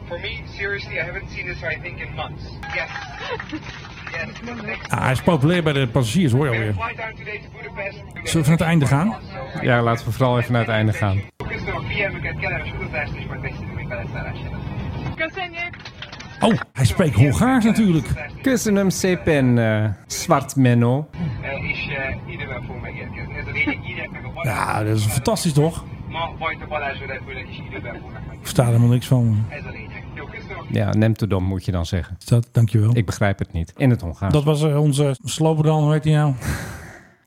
[SPEAKER 8] for me, seriously, I haven't seen this, I think, in months. Yes. Yes. Thanks.
[SPEAKER 4] Ah, hij is populair bij de passagiers, hoor je
[SPEAKER 8] We're gonna
[SPEAKER 4] alweer.
[SPEAKER 8] fly down today to Budapest.
[SPEAKER 4] Oh, Zullen we van het einde gaan?
[SPEAKER 3] Ja, laten we vooral even naar het einde gaan.
[SPEAKER 4] Oh, hij spreekt Hongaars natuurlijk.
[SPEAKER 3] Kussen hem sepen, eh zwart menno.
[SPEAKER 8] uh,
[SPEAKER 4] Ja, dat is fantastisch toch? Ik versta er helemaal niks van.
[SPEAKER 3] Ja, nemtedom moet je dan zeggen.
[SPEAKER 4] Is Dat, dankjewel.
[SPEAKER 3] Ik begrijp het niet. In het Hongaars.
[SPEAKER 4] Dat was eh, onze slobodan, hoe heet hij nou?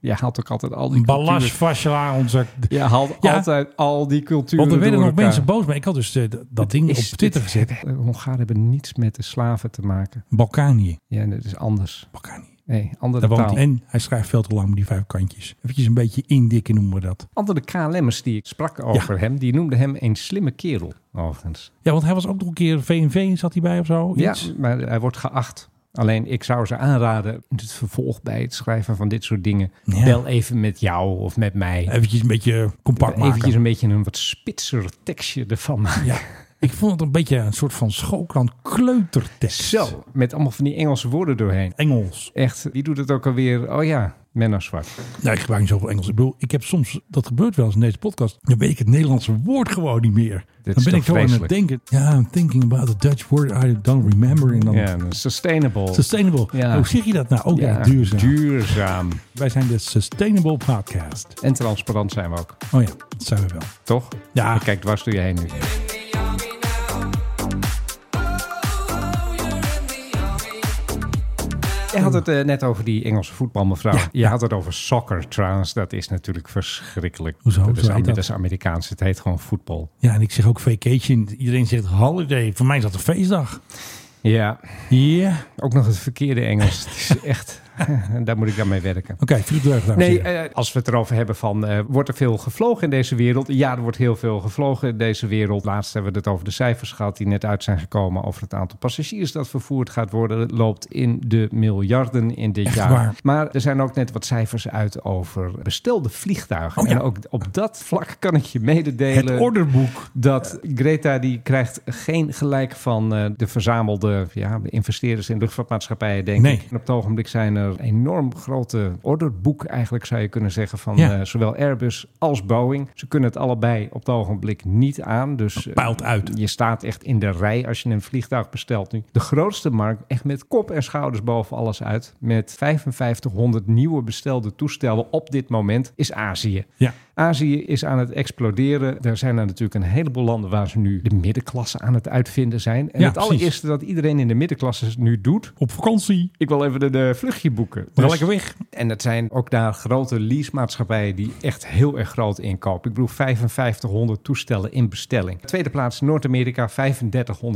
[SPEAKER 3] Je haalt ook altijd al die
[SPEAKER 4] Balas
[SPEAKER 3] culturen.
[SPEAKER 4] Vashla, onze...
[SPEAKER 3] Je haalt
[SPEAKER 4] Ja.
[SPEAKER 3] altijd al die culturen
[SPEAKER 4] Want er werden
[SPEAKER 3] door
[SPEAKER 4] nog
[SPEAKER 3] elkaar.
[SPEAKER 4] mensen boos mee. Ik had dus eh, d- dat ding op
[SPEAKER 3] Is
[SPEAKER 4] Twitter
[SPEAKER 3] dit-
[SPEAKER 4] gezet.
[SPEAKER 3] Eh, Hongaren hebben niets met de slaven te maken.
[SPEAKER 4] Balkanië.
[SPEAKER 3] Ja, dat is anders.
[SPEAKER 4] Balkanië.
[SPEAKER 3] Nee, andere
[SPEAKER 4] Daar woont
[SPEAKER 3] taal.
[SPEAKER 4] hij. En hij schrijft veel te lang met die vijf kantjes. Eventjes een beetje indikken noemen we dat.
[SPEAKER 3] Andere KLM'ers die ik sprak over hem, die noemden hem een slimme kerel, overigens.
[SPEAKER 4] Ja, want hij was ook nog een keer VNV, zat hij bij of zo?
[SPEAKER 3] Ja,
[SPEAKER 4] Iets?
[SPEAKER 3] maar hij wordt geacht. Alleen ik zou ze aanraden, in het vervolg bij het schrijven van dit soort dingen,
[SPEAKER 4] Ja.
[SPEAKER 3] bel even met jou of met mij.
[SPEAKER 4] Eventjes een beetje compact maken.
[SPEAKER 3] Eventjes een beetje een wat spitser tekstje ervan maken.
[SPEAKER 4] Ja. Ik vond het een beetje een soort van schoolkrant kleutertekst.
[SPEAKER 3] Zo, met allemaal van die Engelse woorden doorheen.
[SPEAKER 4] Engels.
[SPEAKER 3] Echt, wie doet het ook alweer? Oh ja, Menno Zwart.
[SPEAKER 4] Nou, ik gebruik niet zoveel Engels. Ik bedoel, ik heb soms, dat gebeurt wel eens in deze podcast, dan weet ik het Nederlandse woord gewoon niet meer. dan
[SPEAKER 3] is
[SPEAKER 4] ben
[SPEAKER 3] toch
[SPEAKER 4] ik gewoon aan het denken. Ja, I'm thinking about the Dutch word I don't remember. En dan
[SPEAKER 3] Ja, sustainable.
[SPEAKER 4] sustainable.
[SPEAKER 3] Ja.
[SPEAKER 4] Hoe zeg je dat nou? Ook
[SPEAKER 3] Ja,
[SPEAKER 4] duurzaam.
[SPEAKER 3] duurzaam.
[SPEAKER 4] Wij zijn de Sustainable Podcast.
[SPEAKER 3] En transparant zijn we ook,
[SPEAKER 4] Oh ja, dat zijn we wel.
[SPEAKER 3] toch?
[SPEAKER 4] Ja.
[SPEAKER 3] Ik Kijk dwars door je heen nu. Je had het eh, net over die Engelse voetbalmevrouw.
[SPEAKER 4] Ja.
[SPEAKER 3] Je had het over soccer trouwens. Dat is natuurlijk verschrikkelijk.
[SPEAKER 4] Hoezo?
[SPEAKER 3] Dat is,
[SPEAKER 4] Zo heet
[SPEAKER 3] Amer-
[SPEAKER 4] dat?
[SPEAKER 3] dat is Amerikaans. Het heet gewoon voetbal.
[SPEAKER 4] Ja, en ik zeg ook vacation. Iedereen zegt holiday. Voor mij is dat een feestdag.
[SPEAKER 3] Ja,
[SPEAKER 4] Ja.
[SPEAKER 3] ook nog het verkeerde Engels. het is echt... Daar moet ik aan mee werken.
[SPEAKER 4] Oké, Philip Deugd.
[SPEAKER 3] Nee, eh, als we het erover hebben van, eh, wordt er veel gevlogen in deze wereld? Ja, er wordt heel veel gevlogen in deze wereld. Laatst hebben we het over de cijfers gehad die net uit zijn gekomen over het aantal passagiers dat vervoerd gaat worden. Het loopt in de miljarden in dit
[SPEAKER 4] Echt
[SPEAKER 3] jaar.
[SPEAKER 4] waar.
[SPEAKER 3] Maar er zijn ook net wat cijfers uit over bestelde vliegtuigen.
[SPEAKER 4] Oh ja.
[SPEAKER 3] En ook op dat vlak kan ik je mededelen
[SPEAKER 4] het orderboek.
[SPEAKER 3] dat Greta die krijgt geen gelijk van eh, de verzamelde ja, de investeerders in luchtvaartmaatschappijen, denk
[SPEAKER 4] Nee.
[SPEAKER 3] ik. En op het ogenblik zijn er enorm grote orderboek, eigenlijk zou je kunnen zeggen, van
[SPEAKER 4] Ja.
[SPEAKER 3] eh, zowel Airbus als Boeing. Ze kunnen het allebei op het ogenblik niet aan. Dus eh,
[SPEAKER 4] Puilt uit.
[SPEAKER 3] je staat echt in de rij als je een vliegtuig bestelt nu. De grootste markt, echt met kop en schouders boven alles uit, met 5500 nieuwe bestelde toestellen op dit moment, is Azië.
[SPEAKER 4] Ja.
[SPEAKER 3] Azië is aan het exploderen. Er zijn er natuurlijk een heleboel landen waar ze nu de middenklasse aan het uitvinden zijn. En
[SPEAKER 4] Ja,
[SPEAKER 3] het
[SPEAKER 4] precies.
[SPEAKER 3] allereerste dat iedereen in de middenklasse nu doet.
[SPEAKER 4] Op vakantie.
[SPEAKER 3] Ik wil even een eh, vluchtje boeken.
[SPEAKER 4] Maar
[SPEAKER 3] Dus-
[SPEAKER 4] lekker weg.
[SPEAKER 3] En dat zijn ook daar grote leasemaatschappijen die echt heel erg groot inkopen. Ik bedoel 5500 toestellen in bestelling. Tweede plaats Noord-Amerika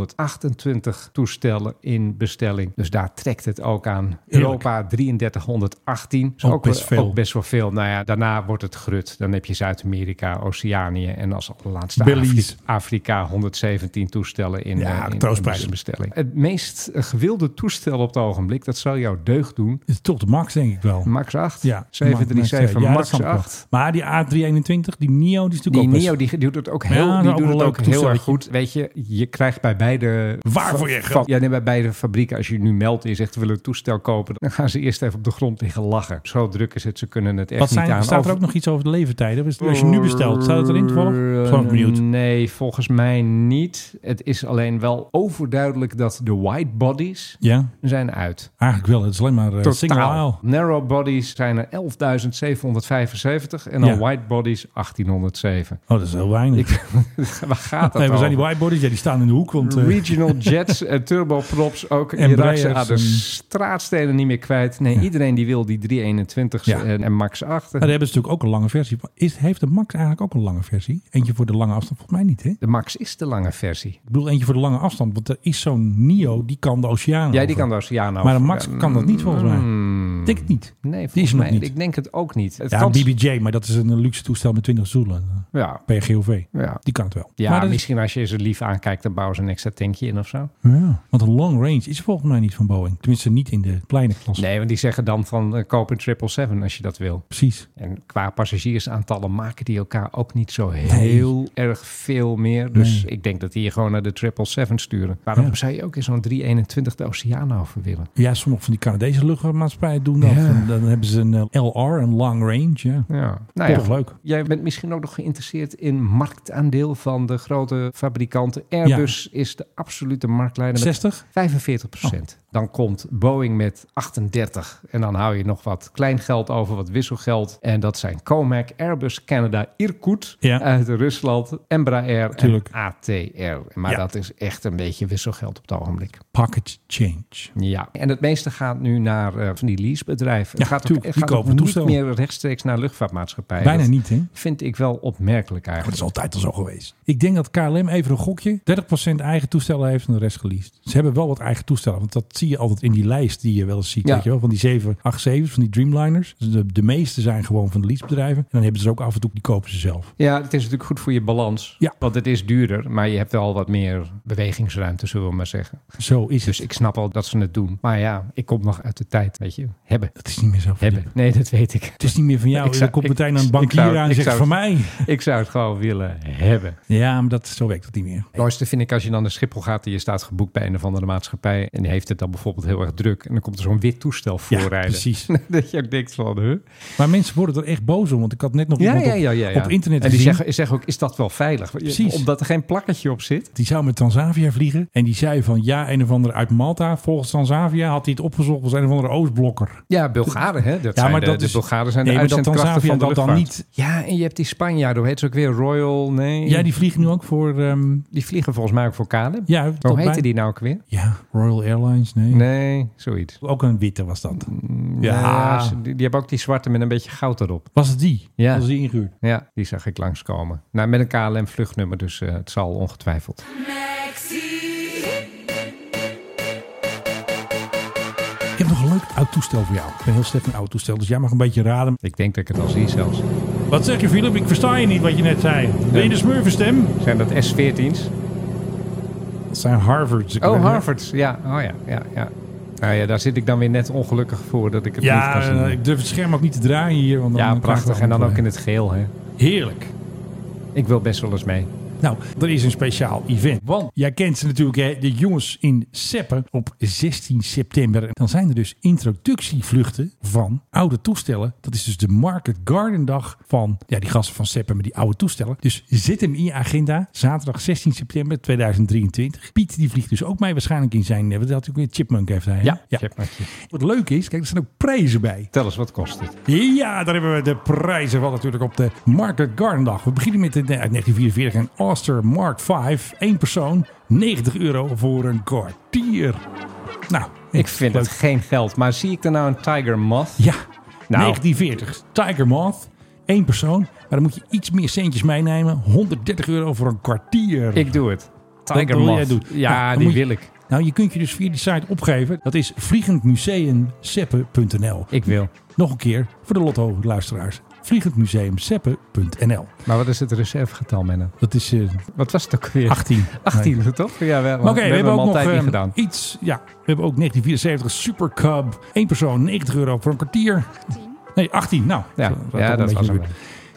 [SPEAKER 3] 3528 toestellen in bestelling. Dus daar trekt het ook aan.
[SPEAKER 4] Heerlijk.
[SPEAKER 3] Europa 3318. Is
[SPEAKER 4] Ook best
[SPEAKER 3] wel-
[SPEAKER 4] veel.
[SPEAKER 3] ook best wel veel. Nou ja, daarna wordt het grut. Dan heb je Zuid-Amerika, Oceanië en als laatste
[SPEAKER 4] Belize.
[SPEAKER 3] Afri- Afrika 117 toestellen in,
[SPEAKER 4] Ja,
[SPEAKER 3] eh, in-
[SPEAKER 4] troostprijs.
[SPEAKER 3] in bestelling. Het meest eh, gewilde toestel op het ogenblik, dat zou jouw deugd doen.
[SPEAKER 4] Het is toch de max, denk ik wel.
[SPEAKER 3] Max 8.
[SPEAKER 4] Ja,
[SPEAKER 3] 737
[SPEAKER 4] ja, dat
[SPEAKER 3] Max
[SPEAKER 4] snap ik wel.
[SPEAKER 3] 8.
[SPEAKER 4] Maar die A321, die NIO, die is natuurlijk
[SPEAKER 3] Die
[SPEAKER 4] ook best-
[SPEAKER 3] Neo die, die doet het ook heel,
[SPEAKER 4] Ja,
[SPEAKER 3] die
[SPEAKER 4] ook
[SPEAKER 3] doet
[SPEAKER 4] een
[SPEAKER 3] het
[SPEAKER 4] leuk
[SPEAKER 3] ook heel erg
[SPEAKER 4] toestelletje.
[SPEAKER 3] goed. Weet je, je krijgt bij beide...
[SPEAKER 4] Waar
[SPEAKER 3] fa-
[SPEAKER 4] voor je
[SPEAKER 3] fa-
[SPEAKER 4] geld.
[SPEAKER 3] Ja, nee, bij beide fabrieken. Als je nu meldt en je zegt, we willen een toestel kopen... dan gaan ze eerst even op de grond liggen lachen. Zo druk is het, ze kunnen het echt
[SPEAKER 4] Wat
[SPEAKER 3] niet
[SPEAKER 4] zijn,
[SPEAKER 3] aan.
[SPEAKER 4] staat er ook nog iets over de levertijden? Als je nu bestelt, staat het erin toevallig? Gewoon benieuwd.
[SPEAKER 3] Nee, volgens mij niet. Het is alleen wel overduidelijk dat de white bodies
[SPEAKER 4] Ja,
[SPEAKER 3] zijn uit.
[SPEAKER 4] eigenlijk wel. Het is alleen maar eh, single aisle.
[SPEAKER 3] Narrow bodies zijn er 11.775 en dan
[SPEAKER 4] Ja.
[SPEAKER 3] wide bodies 1807.
[SPEAKER 4] Oh, dat is heel weinig.
[SPEAKER 3] Ik, waar gaat dat
[SPEAKER 4] nee, we zijn die
[SPEAKER 3] over?
[SPEAKER 4] whiteboards, ja, die staan in de hoek. Want, eh,
[SPEAKER 3] Regional jets en turboprops ook.
[SPEAKER 4] En Mm.
[SPEAKER 3] je raakt ze
[SPEAKER 4] Breyers
[SPEAKER 3] aan de
[SPEAKER 4] en-
[SPEAKER 3] straatstenen niet meer kwijt. Nee, iedereen die wil die 321's
[SPEAKER 4] Ja.
[SPEAKER 3] en, en Max 8.
[SPEAKER 4] maar daar hebben ze natuurlijk ook een lange versie. van. Is, heeft de Max eigenlijk ook een lange versie? Eentje voor de lange afstand? Volgens mij niet, hè?
[SPEAKER 3] De Max is de lange versie.
[SPEAKER 4] Ik bedoel, eentje voor de lange afstand. Want er is zo'n NIO, die kan de
[SPEAKER 3] Jij
[SPEAKER 4] oceaan
[SPEAKER 3] die
[SPEAKER 4] over.
[SPEAKER 3] kan de Oceaan over.
[SPEAKER 4] Maar de Max kan dat niet, volgens mij.
[SPEAKER 3] Hmm.
[SPEAKER 4] Ik denk het niet.
[SPEAKER 3] Nee,
[SPEAKER 4] Die is
[SPEAKER 3] volgens
[SPEAKER 4] nog
[SPEAKER 3] mij.
[SPEAKER 4] niet.
[SPEAKER 3] Ik denk het ook niet. Het
[SPEAKER 4] Ja,
[SPEAKER 3] kan-
[SPEAKER 4] BBJ, maar dat is een luxe toestel met 20 stoelen.
[SPEAKER 3] Ja,
[SPEAKER 4] PGOV.
[SPEAKER 3] ja.
[SPEAKER 4] Die kan het wel.
[SPEAKER 3] ja
[SPEAKER 4] maar dat is-
[SPEAKER 3] misschien als je ze lief aankijkt, dan bouwen ze een extra tankje in of zo.
[SPEAKER 4] Ja, want een long range is volgens mij niet van Boeing. Tenminste, niet in de kleine klasse.
[SPEAKER 3] Nee, want die zeggen dan van eh, koop een 777 als je dat wil.
[SPEAKER 4] Precies.
[SPEAKER 3] En qua passagiersaantallen maken die elkaar ook niet zo heel erg veel meer. Dus ik denk dat die je gewoon naar de 777 sturen. Waarom
[SPEAKER 4] Ja.
[SPEAKER 3] zou je ook in zo'n 321 de oceaan over willen?
[SPEAKER 4] Ja, sommige van die Canadese luchtvaartmaatschappijen doen dat. En dan hebben ze een eh, LR, een long range. Ah, Ja.
[SPEAKER 3] Ja, nou ja.
[SPEAKER 4] Toch leuk.
[SPEAKER 3] Jij bent misschien ook nog geïnteresseerd in marktaandeel van de grote fabrikanten. Airbus is de absolute marktleider met
[SPEAKER 4] 60?
[SPEAKER 3] 45 Dan komt Boeing met 38. En dan hou je nog wat kleingeld over, wat wisselgeld. En dat zijn Comac, Airbus, Canada, Irkut
[SPEAKER 4] Ja.
[SPEAKER 3] uit Rusland, Embraer
[SPEAKER 4] Tuurlijk.
[SPEAKER 3] en ATR. Maar
[SPEAKER 4] Ja.
[SPEAKER 3] dat is echt een beetje wisselgeld op het ogenblik.
[SPEAKER 4] Pocket change.
[SPEAKER 3] Ja, en het meeste gaat nu naar eh, van die leasebedrijven.
[SPEAKER 4] Ja,
[SPEAKER 3] het gaat ook-
[SPEAKER 4] tuurlijk.
[SPEAKER 3] het
[SPEAKER 4] Die
[SPEAKER 3] gaat ook
[SPEAKER 4] kopen
[SPEAKER 3] niet
[SPEAKER 4] toestellen.
[SPEAKER 3] meer rechtstreeks naar luchtvaartmaatschappijen.
[SPEAKER 4] Bijna
[SPEAKER 3] Dat
[SPEAKER 4] niet, hè?
[SPEAKER 3] Vind ik wel opmerkelijk
[SPEAKER 4] Maar dat
[SPEAKER 3] eigenlijk.
[SPEAKER 4] is altijd al zo geweest. Ik denk dat KLM even een gokje 30% eigen toestellen heeft en de rest geleased. Ze hebben wel wat eigen toestellen. Want dat zie je altijd in die lijst die je wel eens ziet.
[SPEAKER 3] Ja.
[SPEAKER 4] Weet je wel, van die 787's, van die Dreamliners. Dus de, de meeste zijn gewoon van de leasebedrijven. En dan hebben ze er ook af en toe, die kopen ze zelf.
[SPEAKER 3] Ja, het is natuurlijk goed voor je balans.
[SPEAKER 4] Ja.
[SPEAKER 3] Want het is duurder, maar je hebt wel wat meer bewegingsruimte, zullen we maar zeggen.
[SPEAKER 4] Zo is het.
[SPEAKER 3] Dus ik snap al dat ze het doen. Maar ja, ik kom nog uit de tijd, weet je. Hebben.
[SPEAKER 4] Dat is niet meer zo van
[SPEAKER 3] Hebben. Nee, dat weet ik.
[SPEAKER 4] Het is niet meer van jou.
[SPEAKER 3] Ik zou-
[SPEAKER 4] Dan Nou, komt
[SPEAKER 3] ik-
[SPEAKER 4] meteen een
[SPEAKER 3] ik
[SPEAKER 4] bankier
[SPEAKER 3] zou-
[SPEAKER 4] aan en
[SPEAKER 3] ik
[SPEAKER 4] zegt
[SPEAKER 3] zou-
[SPEAKER 4] van mij.
[SPEAKER 3] Ik zou het gewoon willen hebben.
[SPEAKER 4] Ja, maar dat, zo werkt dat niet meer.
[SPEAKER 3] Het mooiste vind ik als je dan naar Schiphol gaat en je staat geboekt bij een of andere maatschappij. En die heeft het dan bijvoorbeeld heel erg druk. En dan komt er zo'n wit toestel voorrijden.
[SPEAKER 4] precies.
[SPEAKER 3] dat je ook denkt van, huh?
[SPEAKER 4] Maar mensen worden er echt boos om. Want ik had net nog iemand op, op internet
[SPEAKER 3] En die
[SPEAKER 4] gezien.
[SPEAKER 3] zeggen, zeggen ook, is dat wel veilig?
[SPEAKER 4] Precies.
[SPEAKER 3] Omdat er geen plakketje op zit.
[SPEAKER 4] Die zou met Transavia vliegen. En die zei van ja, een of andere uit Malta. Volgens Transavia had hij het opgezocht als een of andere Oostblokker.
[SPEAKER 3] Ja, Bulgaren, hè? Dat zijn
[SPEAKER 4] maar
[SPEAKER 3] de,
[SPEAKER 4] dat
[SPEAKER 3] de
[SPEAKER 4] is-
[SPEAKER 3] Bulgaren zijn de
[SPEAKER 4] Nee, maar dat
[SPEAKER 3] uitzendkrachten
[SPEAKER 4] Transavia
[SPEAKER 3] van de
[SPEAKER 4] dat dan
[SPEAKER 3] luchtvaart.
[SPEAKER 4] niet.
[SPEAKER 3] Ja, en je hebt die Spanjaarden, hoe heet ze ook weer? Royal, nee.
[SPEAKER 4] Ja, die vliegen nu ook voor... ehm,
[SPEAKER 3] die vliegen volgens mij ook voor Caleb.
[SPEAKER 4] ja, dat
[SPEAKER 3] Hoe heette
[SPEAKER 4] bij-
[SPEAKER 3] die nou ook weer?
[SPEAKER 4] Ja, Royal Airlines, nee.
[SPEAKER 3] Nee, zoiets.
[SPEAKER 4] Ook een witte was dat. Ah.
[SPEAKER 3] Ja,
[SPEAKER 4] Ja.
[SPEAKER 3] ze- die, die hebben ook die zwarte met een beetje goud erop.
[SPEAKER 4] Was het die?
[SPEAKER 3] Ja.
[SPEAKER 4] Was die ingehuurd?
[SPEAKER 3] Ja, die zag ik langskomen. Nou, met een KLM-vluchtnummer, dus eh, het zal ongetwijfeld.
[SPEAKER 4] Ik heb nog een leuk oud toestel voor jou. Ik ben heel slecht in oud toestel, dus jij mag een beetje raden.
[SPEAKER 3] Ik denk dat ik het al zie zelfs.
[SPEAKER 4] Wat zeg je, Philip? Ik versta je niet wat je net zei. Ben je de smurfenstem?
[SPEAKER 3] Zijn dat S14's?
[SPEAKER 4] Dat zijn Harvards. Ik weet
[SPEAKER 3] Oh,
[SPEAKER 4] niet.
[SPEAKER 3] Harvards. Ja, oh ja, ja, ja. Nou ja, daar zit ik dan weer net ongelukkig voor dat ik het niet
[SPEAKER 4] Ja,
[SPEAKER 3] kan zien.
[SPEAKER 4] eh, ik durf het scherm ook niet te draaien hier. Want dan
[SPEAKER 3] ja,
[SPEAKER 4] dan krijg ik
[SPEAKER 3] prachtig. En
[SPEAKER 4] wel
[SPEAKER 3] dan ook in
[SPEAKER 4] een-
[SPEAKER 3] het geel, hè.
[SPEAKER 4] Heerlijk.
[SPEAKER 3] Ik wil best wel eens mee.
[SPEAKER 4] Nou, er is een speciaal event. Want jij kent ze natuurlijk, hè, de jongens in Seppen op 16 september. Dan zijn er dus introductievluchten van oude toestellen. Dat is dus de Market Garden dag van ja, die gasten van Seppen met die oude toestellen. Dus zit hem in je agenda. Zaterdag 16 september 2023. Piet die vliegt dus ook mee waarschijnlijk in zijn... eh, Wat had hij ook weer? Chipmunk heeft hij. hè?
[SPEAKER 3] Chipmunkje.
[SPEAKER 4] Wat leuk is, kijk, er staan ook prijzen bij.
[SPEAKER 3] Tel eens, wat kost het?
[SPEAKER 4] Ja, daar hebben we de prijzen van natuurlijk op de Market Garden Dag. We beginnen met een eh, uit 1944 een Auster Mark V. Eén persoon, 90 euro voor een kwartier. Nou,
[SPEAKER 3] Ik vind
[SPEAKER 4] Leuk.
[SPEAKER 3] het geen geld. Maar zie ik er nou een Tiger Moth?
[SPEAKER 4] Ja,
[SPEAKER 3] Nou.
[SPEAKER 4] 1940. Tiger Moth. Eén persoon. Maar dan moet je iets meer centjes meenemen. 130 euro voor een kwartier.
[SPEAKER 3] Ik doe het. Tiger
[SPEAKER 4] wil jij
[SPEAKER 3] Moth.
[SPEAKER 4] doen. Nou,
[SPEAKER 3] Ja,
[SPEAKER 4] dan
[SPEAKER 3] die
[SPEAKER 4] moet je-
[SPEAKER 3] wil ik.
[SPEAKER 4] Nou, je kunt je dus via die site opgeven. Dat is vliegendmuseumseppen.nl.
[SPEAKER 3] Ik wil.
[SPEAKER 4] Nog een keer voor de Lotto-luisteraars. Vliegendmuseumseppen.nl.
[SPEAKER 3] Maar wat is het reservegetal, Menno?
[SPEAKER 4] Dat is eh,
[SPEAKER 3] Wat was het ook weer?
[SPEAKER 4] 18.
[SPEAKER 3] 18, toch? Ja, we,
[SPEAKER 4] Maar Oké, we, hebben
[SPEAKER 3] hem
[SPEAKER 4] ook nog
[SPEAKER 3] altijd
[SPEAKER 4] eh,
[SPEAKER 3] niet gedaan.
[SPEAKER 4] iets. Ja, we hebben ook 1974 Super Cub. Eén persoon, 90 euro voor een kwartier. Nee, 18. Nou,
[SPEAKER 3] Ja,
[SPEAKER 4] toch een
[SPEAKER 3] ja dat
[SPEAKER 4] beetje
[SPEAKER 3] was hem.
[SPEAKER 4] weer.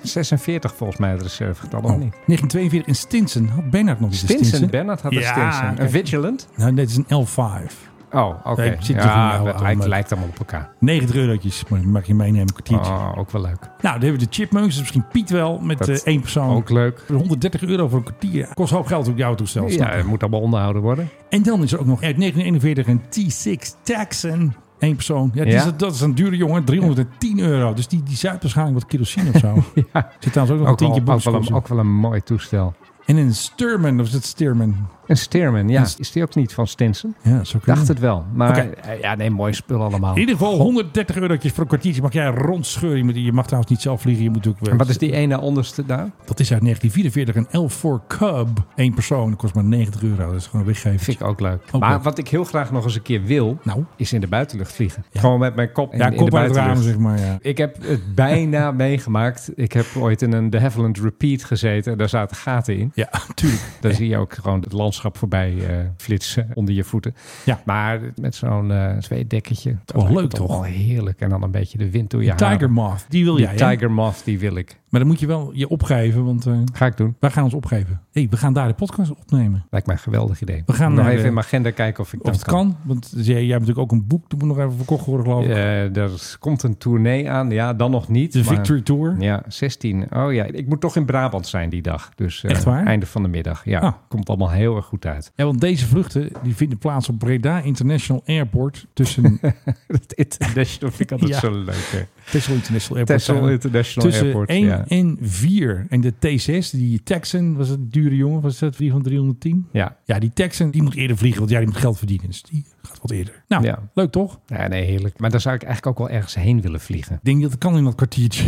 [SPEAKER 3] 46 volgens mij het reservegetal,
[SPEAKER 4] Oh,
[SPEAKER 3] of niet?
[SPEAKER 4] 1942 in Stinson. Had Bernard nog iets in
[SPEAKER 3] Stinson, Bernard had een
[SPEAKER 4] Ja,
[SPEAKER 3] Stinson. Een
[SPEAKER 4] kijk.
[SPEAKER 3] Vigilant?
[SPEAKER 4] Nou, dit is een L5.
[SPEAKER 3] Oh, oké.
[SPEAKER 4] Nee, ik zit hier van
[SPEAKER 3] Ja, het
[SPEAKER 4] jou, oude
[SPEAKER 3] lijkt,
[SPEAKER 4] man.
[SPEAKER 3] lijkt allemaal op elkaar.
[SPEAKER 4] 90 eurotjes, maar mag je meenemen, een kwartiertje.
[SPEAKER 3] Oh, ook wel leuk.
[SPEAKER 4] Nou, dan hebben we de Chipmunks. Dus misschien Piet wel, met
[SPEAKER 3] Dat
[SPEAKER 4] eh, één persoon.
[SPEAKER 3] Ook leuk.
[SPEAKER 4] 130 euro voor een kwartier. Kost hoop geld op jouw toestel. snap
[SPEAKER 3] Ja,
[SPEAKER 4] ik.
[SPEAKER 3] het moet allemaal onderhouden worden.
[SPEAKER 4] En dan is er ook nog uit 1941 een T6 Texan. Eén persoon. Ja, die
[SPEAKER 3] Ja?
[SPEAKER 4] Is, dat is een dure jongen. 310 euro. Dus die, die zuipt waarschijnlijk wat kerosine of zo.
[SPEAKER 3] Ja,
[SPEAKER 4] Zit trouwens ook nog
[SPEAKER 3] ook,
[SPEAKER 4] een
[SPEAKER 3] wel,
[SPEAKER 4] tientje
[SPEAKER 3] ook, wel
[SPEAKER 4] boxen.
[SPEAKER 3] een, ook wel een mooi toestel.
[SPEAKER 4] En een Sturman. Of is het Sturman?
[SPEAKER 3] Een Stearman, ja.
[SPEAKER 4] Een s-
[SPEAKER 3] Is die ook niet van Stinson?
[SPEAKER 4] Ja, zo
[SPEAKER 3] Dacht het wel. Maar
[SPEAKER 4] Oké.
[SPEAKER 3] eh, ja, nee, mooi spul allemaal.
[SPEAKER 4] In ieder geval 130 eurotjes voor een kwartiertje. Mag jij rondscheuren. Je moet- Je mag trouwens niet zelf vliegen. Je moet ook,
[SPEAKER 3] En wat is die ene onderste daar?
[SPEAKER 4] Dat is uit 1944 een L4 Cub. Eén persoon. Dat kost maar 90 euro. Dat is gewoon weggeven.
[SPEAKER 3] Vind ik ook leuk.
[SPEAKER 4] Ook
[SPEAKER 3] maar
[SPEAKER 4] leuk.
[SPEAKER 3] wat ik heel graag nog eens een keer wil,
[SPEAKER 4] Nou.
[SPEAKER 3] is in de buitenlucht vliegen. Gewoon met mijn kop in,
[SPEAKER 4] Ja,
[SPEAKER 3] in de
[SPEAKER 4] kop uit het raam,
[SPEAKER 3] buitenlucht.
[SPEAKER 4] zeg maar. Ja.
[SPEAKER 3] Ik heb het bijna meegemaakt. Ik heb ooit in een De Havilland Repeat gezeten. en Daar zaten gaten in.
[SPEAKER 4] Ja, tuurlijk.
[SPEAKER 3] Daar zie je ook gewoon het landschap voorbij eh, flitsen onder je voeten.
[SPEAKER 4] Ja.
[SPEAKER 3] Maar met zo'n eh tweedekketje. Dat
[SPEAKER 4] Wel
[SPEAKER 3] lijkt
[SPEAKER 4] leuk,
[SPEAKER 3] me
[SPEAKER 4] toch?
[SPEAKER 3] Wel heerlijk. En dan een beetje de wind door je haren.
[SPEAKER 4] Tiger Moth, die wil
[SPEAKER 3] Die
[SPEAKER 4] jij. hè?
[SPEAKER 3] Tiger Moth, die wil ik.
[SPEAKER 4] Maar dan moet je wel je opgeven, want eh,
[SPEAKER 3] Ga ik doen.
[SPEAKER 4] wij gaan ons opgeven. Hey, we gaan daar de podcast opnemen.
[SPEAKER 3] Lijkt mij een geweldig idee.
[SPEAKER 4] We gaan
[SPEAKER 3] nog
[SPEAKER 4] naar
[SPEAKER 3] even
[SPEAKER 4] de-
[SPEAKER 3] in mijn agenda kijken of ik
[SPEAKER 4] Of
[SPEAKER 3] dat
[SPEAKER 4] het kan, want jij, jij hebt natuurlijk ook een boek, dat moet nog even verkocht worden, geloof ik.
[SPEAKER 3] Eh, er komt een tournee aan. Ja, dan nog niet.
[SPEAKER 4] de
[SPEAKER 3] maar-
[SPEAKER 4] Victory Tour.
[SPEAKER 3] Ja, 16. Oh ja, ik moet toch in Brabant zijn die dag. Dus eh,
[SPEAKER 4] Echt waar?
[SPEAKER 3] einde van de middag. Ja,
[SPEAKER 4] Ah.
[SPEAKER 3] komt allemaal heel erg goed uit.
[SPEAKER 4] Ja, want deze vluchten die vinden plaats op Breda International Airport. Tussen
[SPEAKER 3] Het International vind ik altijd
[SPEAKER 4] Ja.
[SPEAKER 3] zo leuk. hè.
[SPEAKER 4] Texel International Airport.
[SPEAKER 3] Texel
[SPEAKER 4] zijn we.
[SPEAKER 3] International
[SPEAKER 4] tussen
[SPEAKER 3] Airport.
[SPEAKER 4] 1
[SPEAKER 3] Ja.
[SPEAKER 4] en 4. En de T6, die Texan, was het dure jongen, was dat 3 van 310?
[SPEAKER 3] ja.
[SPEAKER 4] Ja, die Texan, die moet eerder vliegen, want ja, die moet geld verdienen. Dus die gaat wat eerder. Nou,
[SPEAKER 3] Ja.
[SPEAKER 4] leuk toch?
[SPEAKER 3] Ja, nee, heerlijk. Maar dan zou ik eigenlijk ook wel ergens heen willen vliegen.
[SPEAKER 4] Ik denk dat het kan in dat kwartiertje.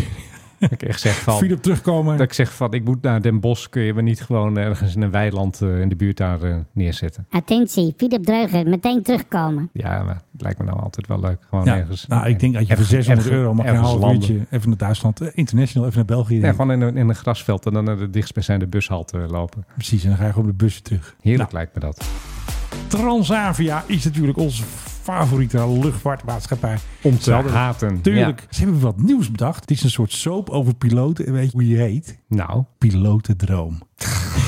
[SPEAKER 3] Dat ik echt zeg van...
[SPEAKER 4] Philip terugkomen.
[SPEAKER 3] Dat ik zeg van, ik moet naar Den Bosch. Kun je me niet gewoon ergens in een weiland eh, in de buurt daar eh, neerzetten?
[SPEAKER 9] Attentie, Philip Dreuger, meteen terugkomen.
[SPEAKER 3] Ja, maar het lijkt me nou altijd wel leuk. Gewoon
[SPEAKER 4] Ja,
[SPEAKER 3] ergens.
[SPEAKER 4] nou, ik denk dat je voor
[SPEAKER 3] ergens-
[SPEAKER 4] 600
[SPEAKER 3] ergens-
[SPEAKER 4] euro mag je een
[SPEAKER 3] ergens
[SPEAKER 4] half
[SPEAKER 3] landen.
[SPEAKER 4] uurtje even naar Duitsland, eh, international, even naar België.
[SPEAKER 3] Ja, gewoon in een, in een grasveld en dan naar de dichtstbijzijnde bushalte lopen.
[SPEAKER 4] Precies, en dan ga je gewoon op de bus weer terug. Nou,
[SPEAKER 3] Heerlijk lijkt me dat.
[SPEAKER 4] Transavia is natuurlijk onze favoriete luchtvaartmaatschappij.
[SPEAKER 3] Om te
[SPEAKER 4] Ze hadden-
[SPEAKER 3] haten.
[SPEAKER 4] Tuurlijk, ze hebben wat nieuws bedacht. Het is een soort soap over piloten. En weet je hoe je heet?
[SPEAKER 3] Ja. Nou,
[SPEAKER 4] Pilotendroom.